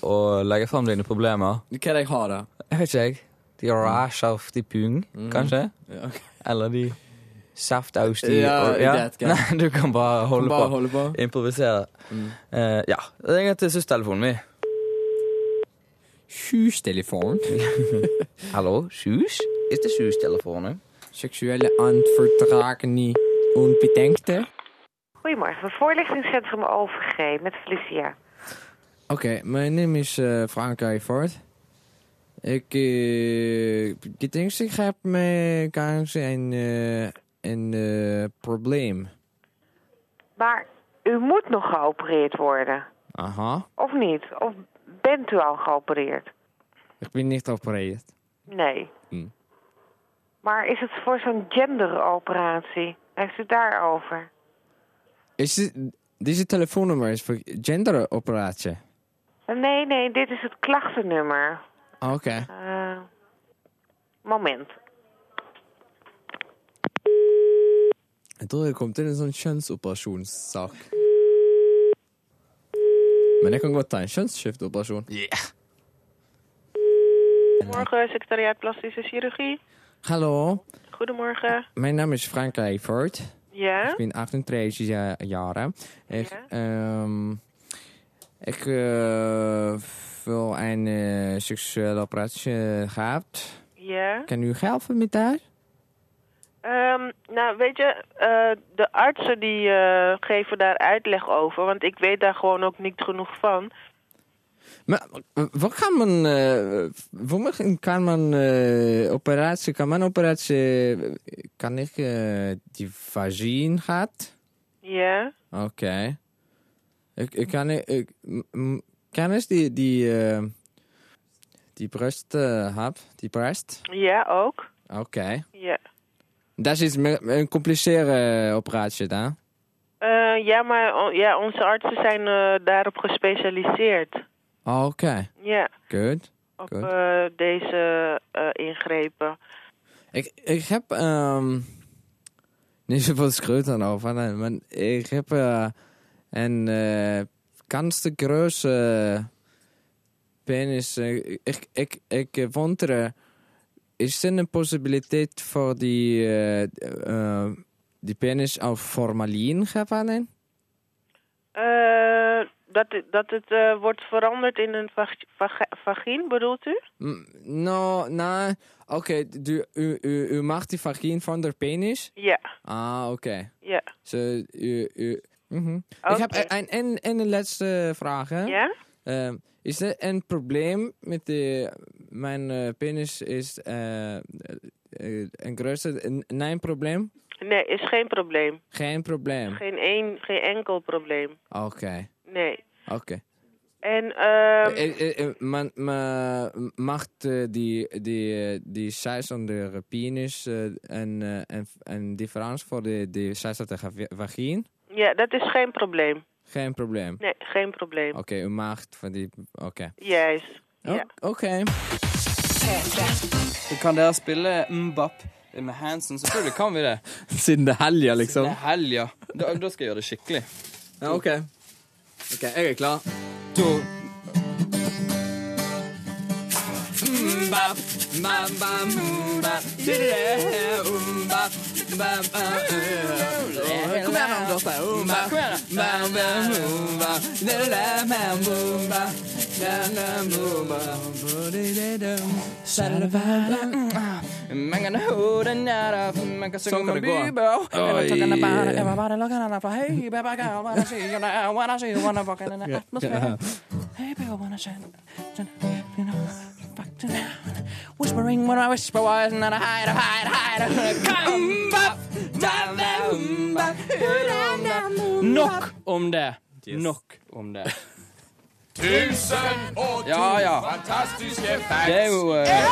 Speaker 5: og legge fram dine problemer.
Speaker 4: Hva er det jeg har, da?
Speaker 5: Jeg vet ikke, jeg. De rash av de pung, kanskje?
Speaker 4: Mm. Ja, ok.
Speaker 5: Eller de saftaust i
Speaker 4: Ja,
Speaker 5: og-
Speaker 4: jeg vet ikke.
Speaker 5: Nei, du kan bare holde
Speaker 4: Bare
Speaker 5: på.
Speaker 4: holde på. Mm.
Speaker 5: Improvisere. Eh, ja. Ring til SUS-telefonen min.
Speaker 4: Hustelefon.
Speaker 5: Hallo, SUS? Er det SUS-telefonen?
Speaker 4: Seksuelle anfordragende unbedenkte.
Speaker 10: Goedemorgen, voorlichtingscentrum Overgreep met Felicia.
Speaker 4: Okay, my name is eh, Frank Eifert. Ik, eh, ik denk ik heb met kansen een, eh, een eh, probleem.
Speaker 10: Maar u moet nog geopereerd worden,
Speaker 4: Aha,
Speaker 10: of niet? Of bent u al geopereerd?
Speaker 4: ik ben niet geopereerd.
Speaker 10: Nee.
Speaker 4: Hmm.
Speaker 10: Maar is het voor zo'n genderoperatie? Heeft u daarover?
Speaker 4: Is dit, deze telefoonnummer is voor genderoperatie.
Speaker 10: Nee, nee, dit is het klachtennummer.
Speaker 4: Oké.
Speaker 10: Eh, moment.
Speaker 4: Jeg tror jeg kom til en sånn kjønnsoperasjonssak. Men jeg kan godt ta en kjønnsskifteoperasjon.
Speaker 7: Morgen, secretariaat plastische chirurgie.
Speaker 4: Hallo,
Speaker 7: Goedemorgen.
Speaker 4: mijn naam is Frank Eifert.
Speaker 7: Ja?
Speaker 4: Ik ben 38 ja- jaar. Ik,
Speaker 10: Ja.
Speaker 4: ehm, ik eh, wil een eh, seksuele operatie gehad.
Speaker 7: Ja?
Speaker 4: Kan u helpen met dat?
Speaker 7: Ehm, nou, weet je, eh, de artsen die eh, geven daar uitleg over, want ik weet daar gewoon ook niet genoeg van.
Speaker 4: Maar eh, wat kan man, eh, voor mij kan man eh, operatie, kan man operatie, kan ik eh, die vagina gehad?
Speaker 7: Ja?
Speaker 4: Oké. Ik, ik kan, eh, ik, m- m- kan eens die, die, eh, die brust eh, heb, die breast?
Speaker 7: Ja, ook?
Speaker 4: Oké.
Speaker 7: Ja.
Speaker 4: Dat is iets meer- een compliceerde operatie dan.
Speaker 7: Eh, ja, maar o- ja, onze artsen zijn eh, daarop gespecialiseerd.
Speaker 4: Oké,
Speaker 7: Ja,
Speaker 4: good.
Speaker 7: op
Speaker 4: Goed.
Speaker 7: eh, deze eh, ingrepen.
Speaker 4: Ik, ik heb... ehm niet zoveel schreeuwt dan over, nee, maar ik heb eh, een eh kans te grote penis. Eh, Ik, ik, ik eh, wonder, is er een possibiliteit voor die, eh, eh, die penis al formalin gevangen?
Speaker 7: Eh, dat, dat het eh, wordt veranderd in een vag vag- vagin, bedoelt u?
Speaker 4: Mm, No, nee. nou, Oké, du- u, u, u mag die vagina van de penis?
Speaker 7: Ja,
Speaker 4: Ah, oké.
Speaker 7: ja.
Speaker 4: Zo, u, u. mhm.
Speaker 7: Oké.
Speaker 4: Ik heb e- en, en, en een laatste vraag. Hè?
Speaker 7: Ja?
Speaker 4: Ehm, is er een probleem met de, mijn eh, penis? Is eh, eh, een grote... een- Een probleem?
Speaker 7: Nee, is geen probleem.
Speaker 4: Geen probleem.
Speaker 7: Geen, een, geen enkel probleem.
Speaker 4: Oké,
Speaker 7: Nee.
Speaker 4: oké.
Speaker 7: En ehm
Speaker 4: Eh, eh, eh, man- ma- mag eh, die, die, eh, die size van de penis eh, een, eh, een, een difference voor de, de size van de ga- vagina?
Speaker 7: ja, dat is geen probleem.
Speaker 4: Geen probleem.
Speaker 7: Nee, geen probleem.
Speaker 4: Oké, u mag van die... Oké.
Speaker 7: Juist. Ja.
Speaker 4: O- Oké.
Speaker 5: Kan dere spille Mbap med Hansen? Selvfølgelig kan vi det.
Speaker 4: Siden det er helga,
Speaker 5: Det
Speaker 4: liksom.
Speaker 5: er helg, ja. Da, da skal jeg gjøre det skikkelig.
Speaker 4: Sånn Ja, OK. Ok, Jeg er klar. To. Mbap, mbap, mbap, tudere, mbap, Kom igjen, dan, Dorte. Oomba, ba, ba, oomba. La, la, ba, oomba. La, la, oomba. Ba-di-di-dum. Sa-da-da-ba-da.
Speaker 6: Man kan hold den der op, man kan synge
Speaker 4: Sånn kan det
Speaker 6: med
Speaker 4: gå.
Speaker 6: Bieber. And I'm talking about
Speaker 4: Oi.
Speaker 6: everybody looking at her, hey, baby girl, wanna see you now, wanna see you, wanna walk in the atmosphere. Hey, baby, wanna see you, you know, fuck you now. Whispering when I whisper was, and then I hide, hide, hide. Come up, down, down, back, down, down.
Speaker 5: Nok om det. Nok om det.
Speaker 11: Tusen og to
Speaker 5: Ja, ja.
Speaker 11: fantastiske
Speaker 5: Det er jo eh,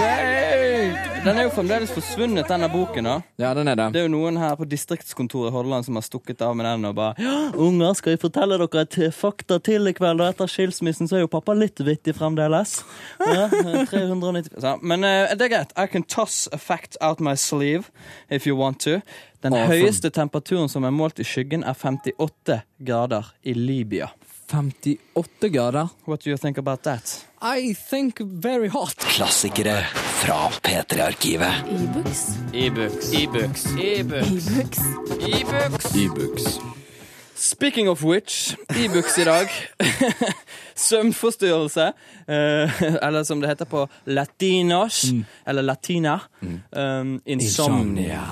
Speaker 5: Yay! Den er jo fremdeles forsvunnet, denne boken. da.
Speaker 4: Ja, den er det.
Speaker 5: Det er jo noen her på distriktskontoret i Hordaland som har stukket av med den og bare «Ja, Unger, skal jeg fortelle dere et fakta til i kveld? Og etter skilsmissen så er jo pappa litt vittig fremdeles. Ja, eh, 390 så, Men eh, det er greit. I can toss a fact out my sleeve if you want to. Den
Speaker 4: Awesome.
Speaker 5: høyeste temperaturen som er målt i skyggen, er 58 grader i Libya.
Speaker 4: 58 grader.
Speaker 5: What do you think about that?
Speaker 4: I think very hot.
Speaker 2: Klassikere fra P3-arkivet.
Speaker 12: E-books.
Speaker 5: E-books. E-books. E-books.
Speaker 12: E-books.
Speaker 5: E-books. Speaking of which, e-books i dag. Søvnforstyrrelse, eh, eller som det heter på latinos, eller latina. Um, Mm. insomnia.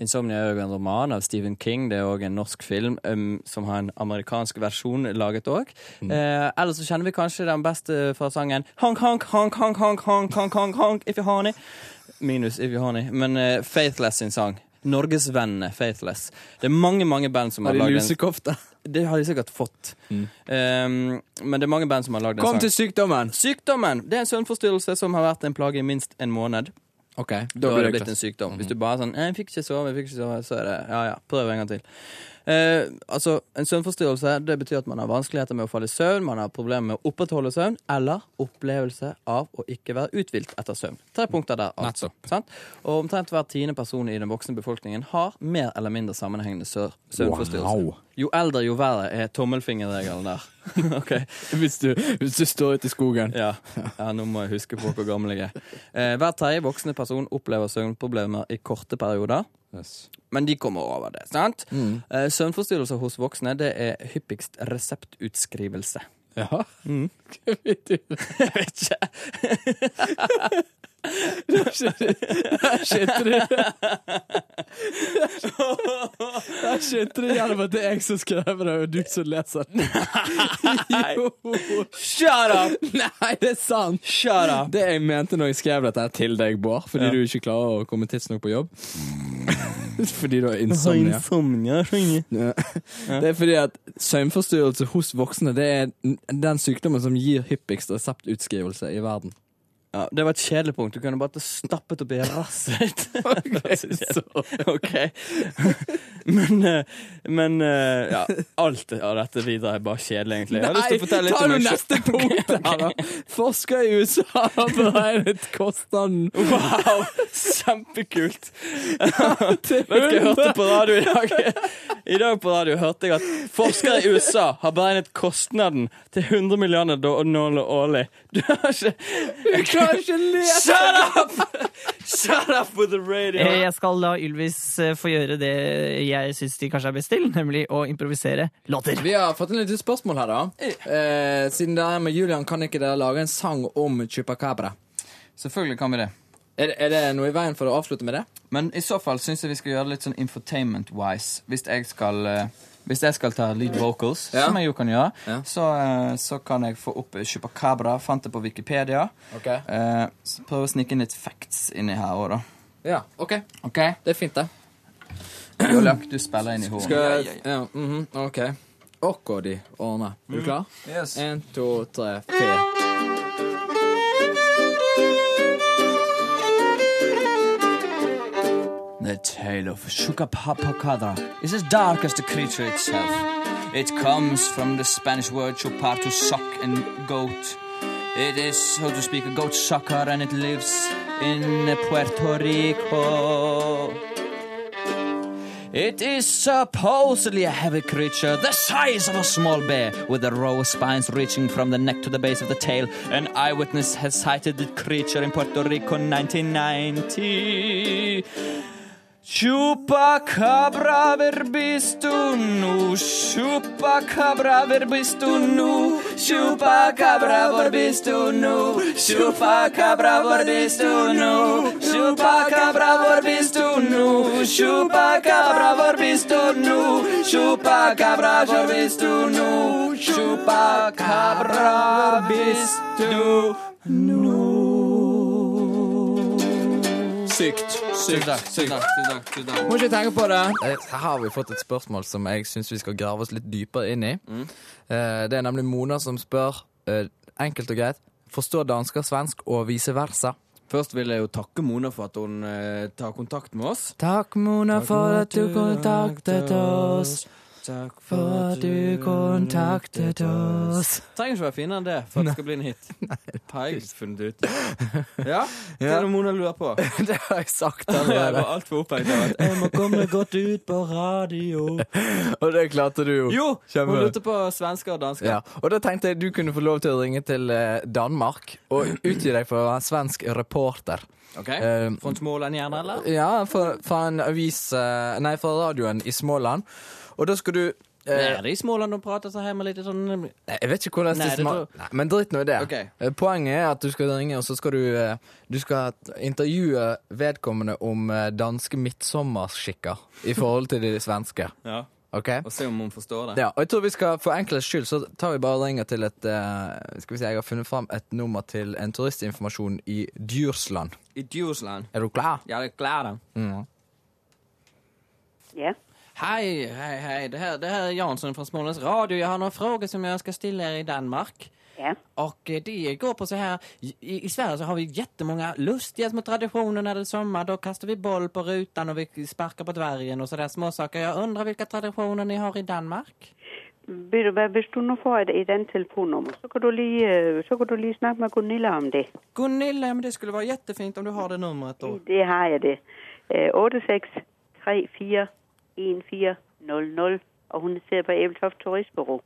Speaker 5: Insomnia er jo en roman av Stephen King. Det er òg en norsk film um, som har en amerikansk versjon laget òg. Eh, eller så kjenner vi kanskje den beste fra sangen Honk, honk, honk, honk, honk, honk, honk, honk, honk if you honey. Minus if you honey. Men eh, Faithless sin sang. Norgesvennene Faithless. Det er mange mange band som
Speaker 4: Har
Speaker 5: har
Speaker 4: de
Speaker 5: lagd en
Speaker 4: lusekofte?
Speaker 5: Det har de sikkert fått. Um, men det er mange band som har lagd en
Speaker 4: Mm. Kom
Speaker 5: sang.
Speaker 4: til sykdommen!
Speaker 5: Sykdommen! Det er en søvnforstyrrelse som har vært en plage i minst en måned.
Speaker 4: OK,
Speaker 5: Da har det blitt en sykdom. Hvis du bare er sånn «Eh, 'Jeg fikk ikke sove, jeg fikk ikke sove', så er det ja ja, prøv en gang til. Eh, altså, En søvnforstyrrelse det betyr at man har vanskeligheter med å falle i søvn, man har problemer med å opprettholde søvn, eller opplevelse av å ikke være uthvilt etter søvn. Tre punkter der, altså. Sant? Og omtrent hver tiende person i den voksne befolkningen har mer eller mindre sammenhengende sø- søvnforstyrrelse.
Speaker 2: Wow.
Speaker 5: Jo eldre, jo verre er tommelfingerregelen der. ok,
Speaker 4: Hvis du, hvis du står ute i skogen.
Speaker 5: ja. ja, nå må jeg huske på hvor gammel jeg er. Eh, hver tredje voksne person opplever søvnproblemer i korte perioder. Men de kommer over det, sant?
Speaker 4: Mm.
Speaker 5: Eh, søvnforstyrrelser hos voksne det er hyppigst reseptutskrivelse.
Speaker 4: Ja.
Speaker 5: Jeg vet ikke.
Speaker 4: Skjønte du det? Skjønte du gjennom at det er jeg som skriver det, og du som leser den? Jo!
Speaker 5: Shut up!
Speaker 4: Nei, det er sant!
Speaker 5: Shut up!
Speaker 4: Det jeg mente når jeg skrev dette her til deg, Bård, fordi
Speaker 5: Ja.
Speaker 4: du ikke klarer å komme tidsnok på jobb Fordi du Mm. har insomnia.
Speaker 5: insomnia.
Speaker 4: Ja. Det er fordi at søvnforstyrrelse hos voksne Det er den sykdommen som gir hyppigst reseptutskrivelse i verden.
Speaker 5: Ja, det var et kjedelig punkt. Du kunne bare stappet oppi rasset. OK. Men, eh, men eh, ja, alt av dette videre er bare kjedelig, egentlig. Jeg har lyst til å fortelle litt
Speaker 4: ta
Speaker 5: om
Speaker 4: nå
Speaker 5: meg selv.
Speaker 4: neste punkt her, da! Forskere i USA har beregnet kostnaden
Speaker 5: Wow, kjempekult! Vet du hva jeg hørte på radio i dag? I dag på radio hørte jeg at forskere i USA har beregnet kostnaden til 100 millioner dollar årlig. Du har ikke
Speaker 4: Du klarer ikke å le!
Speaker 5: Shut up! Shut up with the radio!
Speaker 3: Eh, Jeg skal la Ylvis eh, få gjøre det jeg syns de kanskje er best til, nemlig å improvisere låter.
Speaker 4: Vi har fått en liten spørsmål her, da. Eh, siden dere er med Julian, kan ikke dere lage en sang om chupacabra?
Speaker 5: Selvfølgelig kan vi det.
Speaker 4: Er, er det noe i veien for å avslutte med det?
Speaker 5: Men i så fall syns jeg vi skal gjøre det litt sånn infotainment-wise. Hvis jeg skal eh, hvis jeg skal ta lead vocals,
Speaker 4: Ja.
Speaker 5: som jeg jo kan gjøre,
Speaker 4: Ja.
Speaker 5: så, eh, så kan jeg få opp Chupacabra. Fant det på Wikipedia.
Speaker 4: Ok.
Speaker 5: Eh, så prøv å snike inn litt facts inni her òg, da.
Speaker 4: Ja, OK.
Speaker 5: OK?
Speaker 4: Det er fint, det.
Speaker 5: Jolak, er du spiller inn i hornet.
Speaker 4: Skal jeg ja, mhm, OK. Åkå de ordner. Er du klar?
Speaker 8: Yes.
Speaker 4: En, to, tre, fire.
Speaker 5: The tale of Chupacabra is as dark as the creature itself. It comes from the Spanish word chupar to suck and goat. It is, so to speak, a goat sucker and it lives in Puerto Rico. It is supposedly a heavy creature, the size of a small bear, with a row of spines reaching from the neck to the base of the tail. An eyewitness has sighted the creature in Puerto Rico in 1990.
Speaker 6: Chupacabra verbistunu, chupacabra verbistunu, chupacabra verbistunu, chupacabra verbistunu, chupacabra verbistunu, chupacabra verbistunu, chupacabra verbistunu, chupacabra verbistunu.
Speaker 5: Sykt. Sykt. Sykt.
Speaker 4: Må ikke tenke på det. Eh, Her har vi fått et spørsmål som jeg syns vi skal grave oss litt dypere inn i. Eh, Det er nemlig Mona som spør, eh, enkelt og greit, forstår dansker svensk og vice versa?
Speaker 5: Først vil jeg jo takke Mona for at hun eh, tar kontakt med oss.
Speaker 4: Takk, Mona, for at du kontaktet oss.
Speaker 5: Takk
Speaker 4: for at du kontaktet oss.
Speaker 5: Trenger ikke være finere enn det for at det skal bli en hit. Har jeg funnet ut. Ja, det er noe Mona lurer på.
Speaker 4: Det har jeg sagt
Speaker 5: Jeg
Speaker 4: allerede.
Speaker 5: var altfor opphengt av at jeg må komme godt ut på radio.
Speaker 4: Og det klarte du jo.
Speaker 5: Jo, hun
Speaker 4: Kjempe-
Speaker 5: lurte på svensker og dansker.
Speaker 4: Ja, og da tenkte jeg du kunne få lov til å ringe til eh, Danmark og utgi deg for å være svensk reporter.
Speaker 5: Ok,
Speaker 4: Eh,
Speaker 5: Fra Småland gjerne, eller?
Speaker 4: Ja, fra, fra en avis eh, Nei, fra radioen i Småland. Og da skal du eh,
Speaker 5: Nei, er det i Småland å prate så her med litt sånn
Speaker 4: Nei, Jeg vet ikke hvordan
Speaker 5: Nei,
Speaker 4: det
Speaker 5: det
Speaker 4: smak-
Speaker 5: tror-
Speaker 4: Nei, Men dritt nå i det.
Speaker 5: Ok.
Speaker 4: Eh, Poenget er at du skal ringe, og så skal du, eh, du skal intervjue vedkommende om eh, danske midtsommerskikker i forhold til de svenske.
Speaker 5: Ja.
Speaker 4: Ok?
Speaker 5: Og se om hun forstår det.
Speaker 4: Ja, og jeg tror vi skal For enkelhets skyld så tar vi bare og ringer til et eh, Skal vi si, jeg har funnet fram et nummer til en turistinformasjon i Djursland.
Speaker 5: I Djursland.
Speaker 4: Er du klar?
Speaker 5: Ja, det er klart.
Speaker 4: Mm.
Speaker 13: Ja.
Speaker 5: Hei, hei, hei. Det her, det her er Jansson fra Smålands Radio. Jeg har noen frågor som jeg skal stille her i Danmark.
Speaker 13: Ja.
Speaker 5: Och eh, det går på så här, i, i Sverige så har vi jättemånga lustiga små traditioner när det är sommar. Då kastar vi boll på rutan och vi sparkar på dvärgen och sådär småsaker. Jag undrar vilka traditioner ni har i Danmark?
Speaker 13: Ved- Hvis du nu får et, et andet telefonnummer, så kan, du lige, øh, så kan du lige snakke med Gunilla om det.
Speaker 5: Gunilla, men det skulle vara jättefint om du har det numret då.
Speaker 13: Det har jeg det. Øh, 86341400, og hun sidder på Æbeltoft Turistbureau.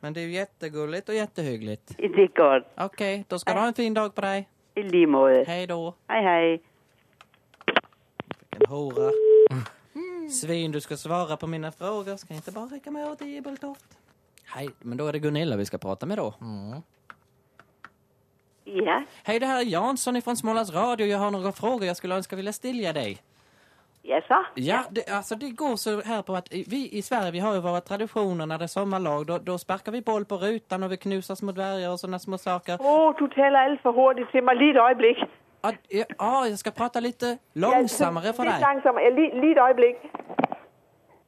Speaker 5: Men det är ju jättegulligt och jättehyggligt.
Speaker 13: Det er godt.
Speaker 5: Okej, då ska du ha en fin dag på dig.
Speaker 13: I lige måde.
Speaker 5: Hej då.
Speaker 13: Hej, hej.
Speaker 5: Vilken hora. Svin, du ska svara på mina frågor. Ska inte bara räcka med åt Ibeltoft? Hej, men då är det Gunilla vi ska prata med då.
Speaker 13: Ja,
Speaker 5: Hej, det här är Jansson ifrån Smålands Radio. Jag har några frågor jeg skulle ønske ville stilla dig.
Speaker 13: ja så.
Speaker 5: Ja, det, alltså det går så här på att vi i Sverige, vi har ju våra traditioner när det är sommarlag. Då, då sparkar vi boll på rutan och vi knusar små dvärgar och sådana små saker.
Speaker 13: Åh, oh, du taler alt for hurtigt til mig lige et øjeblik.
Speaker 5: Ja, ja, ah, ja, jag ska prata lite långsammere för dig.
Speaker 13: Lidt langsommere. Ja, lige, lige et øjeblik.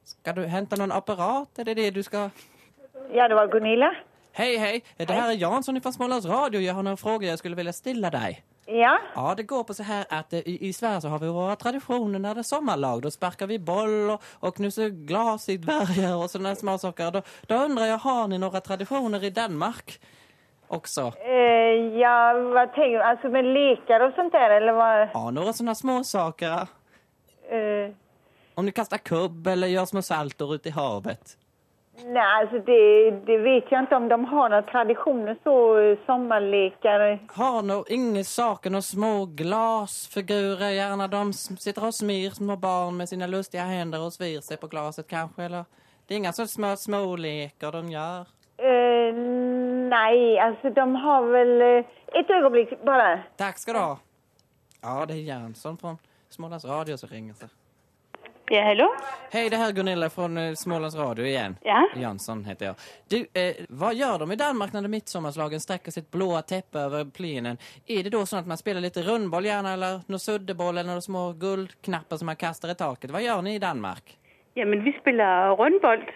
Speaker 5: Ska du hämta någon apparat? Är det det du ska...
Speaker 13: Ja, det var Gunilla.
Speaker 5: Hej, hej! Det här är Jansson ifrån Smålands Radio. Jag har några frågor jag skulle vilja stilla dig.
Speaker 13: Ja,
Speaker 5: Ja, det går på så här att eh, i, i Sverige så har vi våra traditioner när det är sommarlag. Då sparkar vi boll och, och knusar glas i dvärgar och sådana små saker. Då, då undrar jeg, har ni några traditioner i Danmark också?
Speaker 13: øh, ja, hvad tænker du? Altså med leker og sådan der, eller hvad?
Speaker 5: Ja, några sådana små saker.
Speaker 13: Øh,
Speaker 5: Om ni kastar kubb eller gör små saltor ute i havet.
Speaker 13: nej, altså det, det ved jeg ikke, om de har nogle traditioner, så øh, sommerleker.
Speaker 5: Har nog inga saker, några små glasfigurer gärna. De s- sitter och smir små barn med sina lustiga händer och svir sig på glaset kanske. Eller... Det är inga så små, små leker de gör.
Speaker 13: Øh, nej, altså de har vel... Øh, et øjeblik, bare.
Speaker 5: Tack ska du ha. Ja, det är Jansson från Smålands Radio som ringer. Så.
Speaker 13: Ja, hallo?
Speaker 5: Hej, det här är Gunilla från eh, Smålands Radio igen.
Speaker 13: Ja.
Speaker 5: Jansson heter jag. Du, eh, vad gör de i Danmark när de midsommarslagen sträcker sitt blåa täppe över plenen? Är det då så att man spelar lite rundboll gärna eller någon suddeboll eller några små guldknappar som man kastar i taket? Vad gör ni i Danmark?
Speaker 14: Jamen, vi spiller rundbold.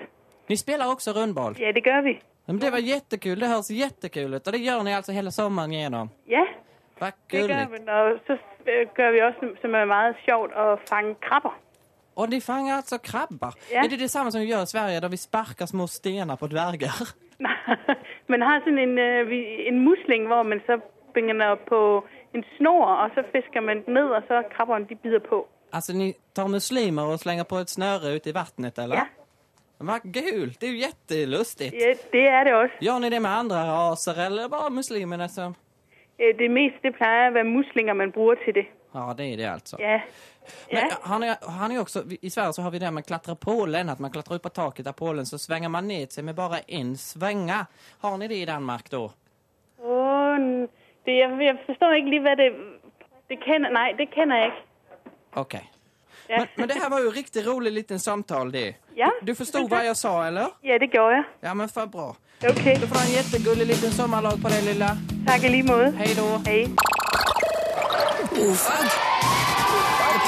Speaker 5: Ni spelar också rundboll?
Speaker 14: Ja, det gør vi.
Speaker 5: Men det var jättekul, det hörs jättekul ut och det gör ni alltså hela sommaren igenom?
Speaker 14: Ja,
Speaker 5: Vad
Speaker 14: det
Speaker 5: gulligt.
Speaker 14: gør vi. Og så øh, gør vi også, som er meget sjovt, at fange krabber.
Speaker 5: Och ni fångar alltså krabbar?
Speaker 14: Ja.
Speaker 5: Är det detsamma som vi gör i Sverige där vi sparkar små stenar på dvärgar?
Speaker 14: Man har sådan en, øh, vi- en musling, hvor man så begynder på en snor, og så fisker man den ned, og så krabberne, de bider på.
Speaker 5: Alltså ni tar muslimer och slänger på ett snöre ut i vattnet eller?
Speaker 14: Ja.
Speaker 5: Vad gult, det är ju jättelustigt.
Speaker 14: Ja, det är det också.
Speaker 5: Gör ni det med andra raser eller bara muslimerna som...
Speaker 14: Øh, Det meste, det plejer at være muslinger, man bruger til det.
Speaker 5: Ja, det är det alltså.
Speaker 14: Ja,
Speaker 15: Men eh, han är, han är också, I Sverige så har vi det här med klättra pålen, att man klättrar upp på taket av pålen så svänger man ner sig med bara en svänga. Har ni det i Danmark då?
Speaker 14: Åh, det, jeg, jeg forstår ikke lige, hvad det... Det kender... Nej, det kender jeg ikke.
Speaker 15: Okej.
Speaker 14: Ja.
Speaker 15: Men, men det här var ju riktigt rolig liten samtal det.
Speaker 14: Ja.
Speaker 15: Du, du förstod vad jag sa eller?
Speaker 14: Ja, det gjorde jag.
Speaker 15: Ja men för bra.
Speaker 14: Okej.
Speaker 15: Du får ha en jättegullig liten sommarlov på dig lilla.
Speaker 14: Tack i lige måde.
Speaker 15: Hej då.
Speaker 14: Hej.
Speaker 1: Ofag.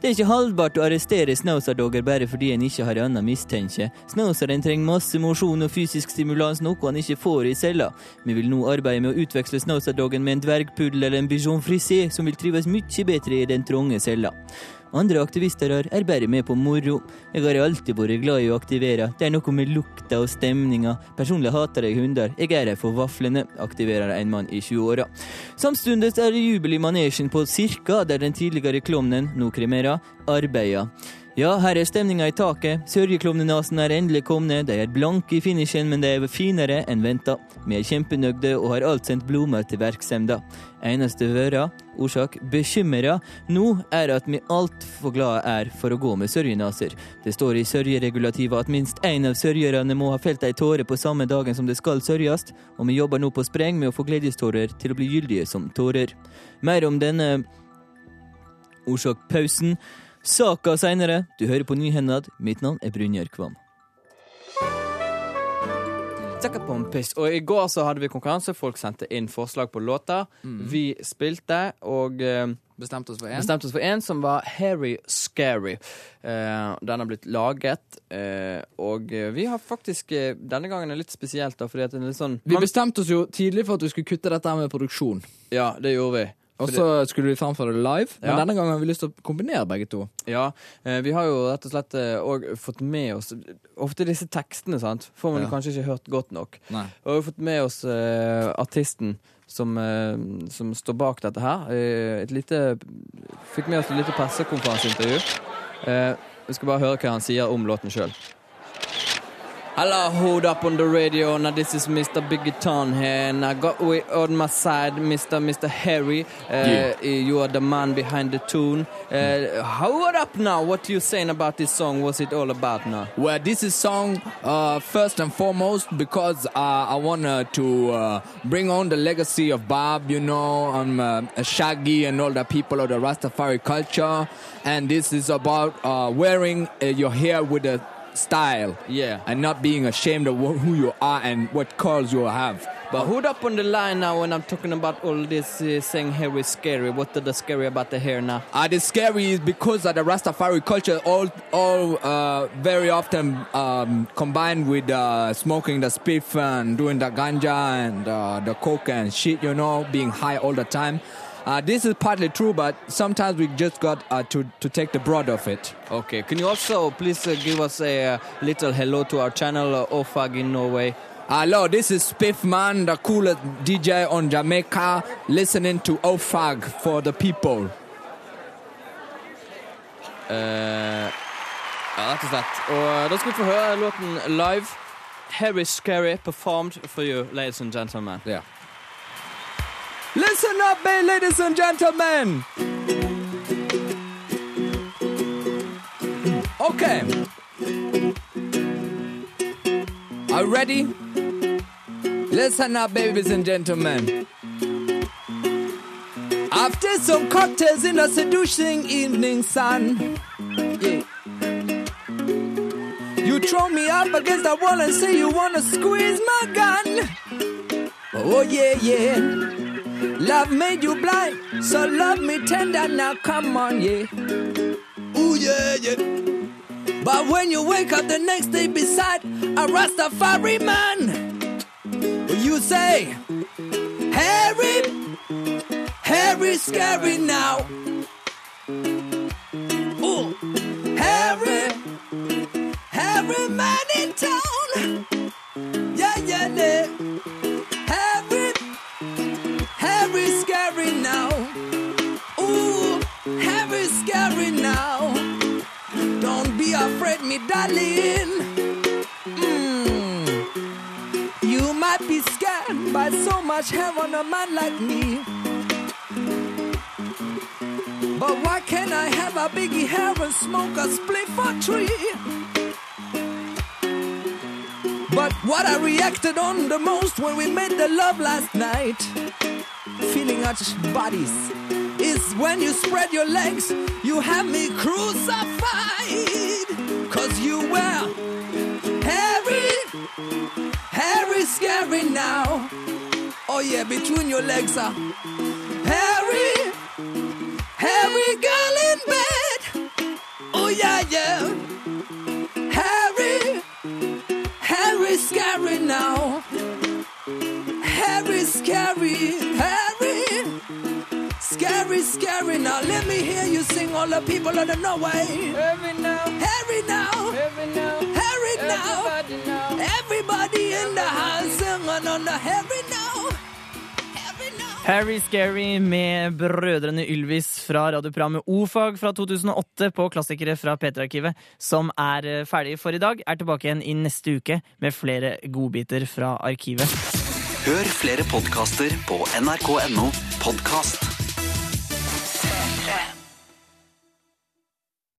Speaker 5: Det er ikke holdbart å arrestere Snauser-dogger bare fordi en ikke har annen mistenke. Snauseren trenger masse mosjon og fysisk stimulans, noe han ikke får i cella. Vi vil nå arbeide med å utveksle Snauser-doggen med en dvergpuddel eller en bijon frisé, som vil trives mye bedre i den trange cella. Andre aktivister her er bare med på moro. Jeg har alltid vært glad i å aktivere. Det er noe med lukta og stemninga. Personlig hater jeg hunder. Jeg er her for vaflene, aktiverer en mann i 20-åra. Samtidig er det jubel i manesjen på Cirka, der den tidligere klovnen, nå kremerer, arbeider. Ja, her er stemninga i taket. Sørgeklovnenasen er endelig komne. De er blanke i finishen, men de er finere enn venta. Vi er kjempenøgde og har alt sendt blomster til verksemda. Eneste vøra, orsak bekymra, nå er at vi altfor glade er for å gå med sørgenaser. Det står i sørgeregulativet at minst én av sørgerne må ha felt ei tåre på samme dagen som det skal sørges, og vi jobber nå på spreng med å få gledestårer til å bli gyldige som tårer. Mer om denne orsak pausen. Saka seinere. Du hører på Nyhendad. Mitt navn er Brynjar Kvam. Pompis. Og i går så hadde vi konkurranse. Folk sendte inn forslag på låter. Vi spilte og eh,
Speaker 4: Bestemte oss for en.
Speaker 5: bestemte oss for en som var Harry Scary. Eh, den har blitt laget, eh, og eh, vi har faktisk eh, Denne gangen er litt spesielt, da, fordi at det er litt sånn
Speaker 4: Vi bestemte oss jo tidlig for at vi skulle kutte dette her med produksjon.
Speaker 5: Ja, det gjorde vi.
Speaker 4: Og
Speaker 5: Fordi-
Speaker 4: så skulle vi framføre det live, men
Speaker 5: Ja.
Speaker 4: denne gangen har vi lyst til å kombinere begge to.
Speaker 5: Ja, eh, vi har jo rett og slett òg fått med oss Ofte disse tekstene, sant, får man
Speaker 4: Ja.
Speaker 5: kanskje ikke hørt godt nok.
Speaker 4: Nei.
Speaker 5: Og vi har fått med oss eh, artisten som, eh, som står bak dette her. Eh, et lite Fikk med oss et lite pressekonferanseintervju. Eh, vi skal bare høre hva han sier om låten sjøl. Hello, hold up on the radio. Now this is Mr. Big Town here, and I got we on my side, Mr. Mr. Harry. Uh,
Speaker 9: Yeah.
Speaker 5: You are the man behind the tune. Uh, hold up now. What you saying about this song? What's it all about now?
Speaker 4: Well, this is song uh, first and foremost because uh, I want uh, to uh, bring on the legacy of Bob, you know, um, uh, Shaggy and all the people of the Rastafari culture. And this is about uh, wearing uh, your hair with a style.
Speaker 5: Yeah.
Speaker 4: And not being ashamed of wh- who you are and what colors you have.
Speaker 5: But hold up on the line now when I'm talking about all this uh, saying hair is scary. What the scary about the hair now?
Speaker 4: Uh, the scary is because of the Rastafari culture, all, all uh, very often um, combined with uh, smoking the spiff and doing the ganja and uh, the coke and shit, you know, being high all the time. Uh, this is partly true, but sometimes we just got uh, to, to take the broad of it.
Speaker 5: Okay, can you also please uh, give us a uh, little hello to our channel uh, Ofag in Norway?
Speaker 4: Hello, this is Spiffman, the coolest DJ on Jamaica, listening to Ofag for the people.
Speaker 5: Eh, ja, rett og slett. Og da skal vi få høre låten live. Harry Scary performed for you, ladies and gentlemen.
Speaker 4: Listen up, eh, ladies and gentlemen. Okay. Are you ready? Listen up, babies and gentlemen. After some cocktails in the seducing evening sun, yeah. you throw me up against the wall and say you wanna squeeze my gun. Oh yeah, yeah. Love made you blind, so love me tender now. Come on, yeah. Ooh, yeah, yeah. But when you wake up the next day beside a Rastafari man, you say, Harry, Harry, scary now. Ooh, Harry,
Speaker 5: town. Yeah, yeah, yeah. Harry, Harry scary now. Ooh, Harry scary now. Don't be afraid, me darling. Mm. You might be scared by so much hair on a man like me. But why can't I have a biggie hair and smoke a split for three? But what I reacted on the most when we made the love last night, feeling our bodies, is when you spread your legs, you have me crucified. Cause you were hairy, hairy, scary now. Oh yeah, between your legs are hairy. Harry girl in bed. Oh yeah, yeah. Harry, Harry scary now. Harry scary, Harry. Scary, scary now. Let me hear you sing all the people of the Norway. Harry now. Harry now. Harry now. Harry now. Everybody, in the house singing on the Harry now.
Speaker 3: Harry Scary med brødrene Ylvis fra radioprogrammet O-fag fra 2008 på klassikere fra P3-arkivet, som er eh, ferdig for i dag, er tilbake igjen i neste uke med flere godbiter fra arkivet.
Speaker 2: Hør flere podkaster på nrk.no podkast.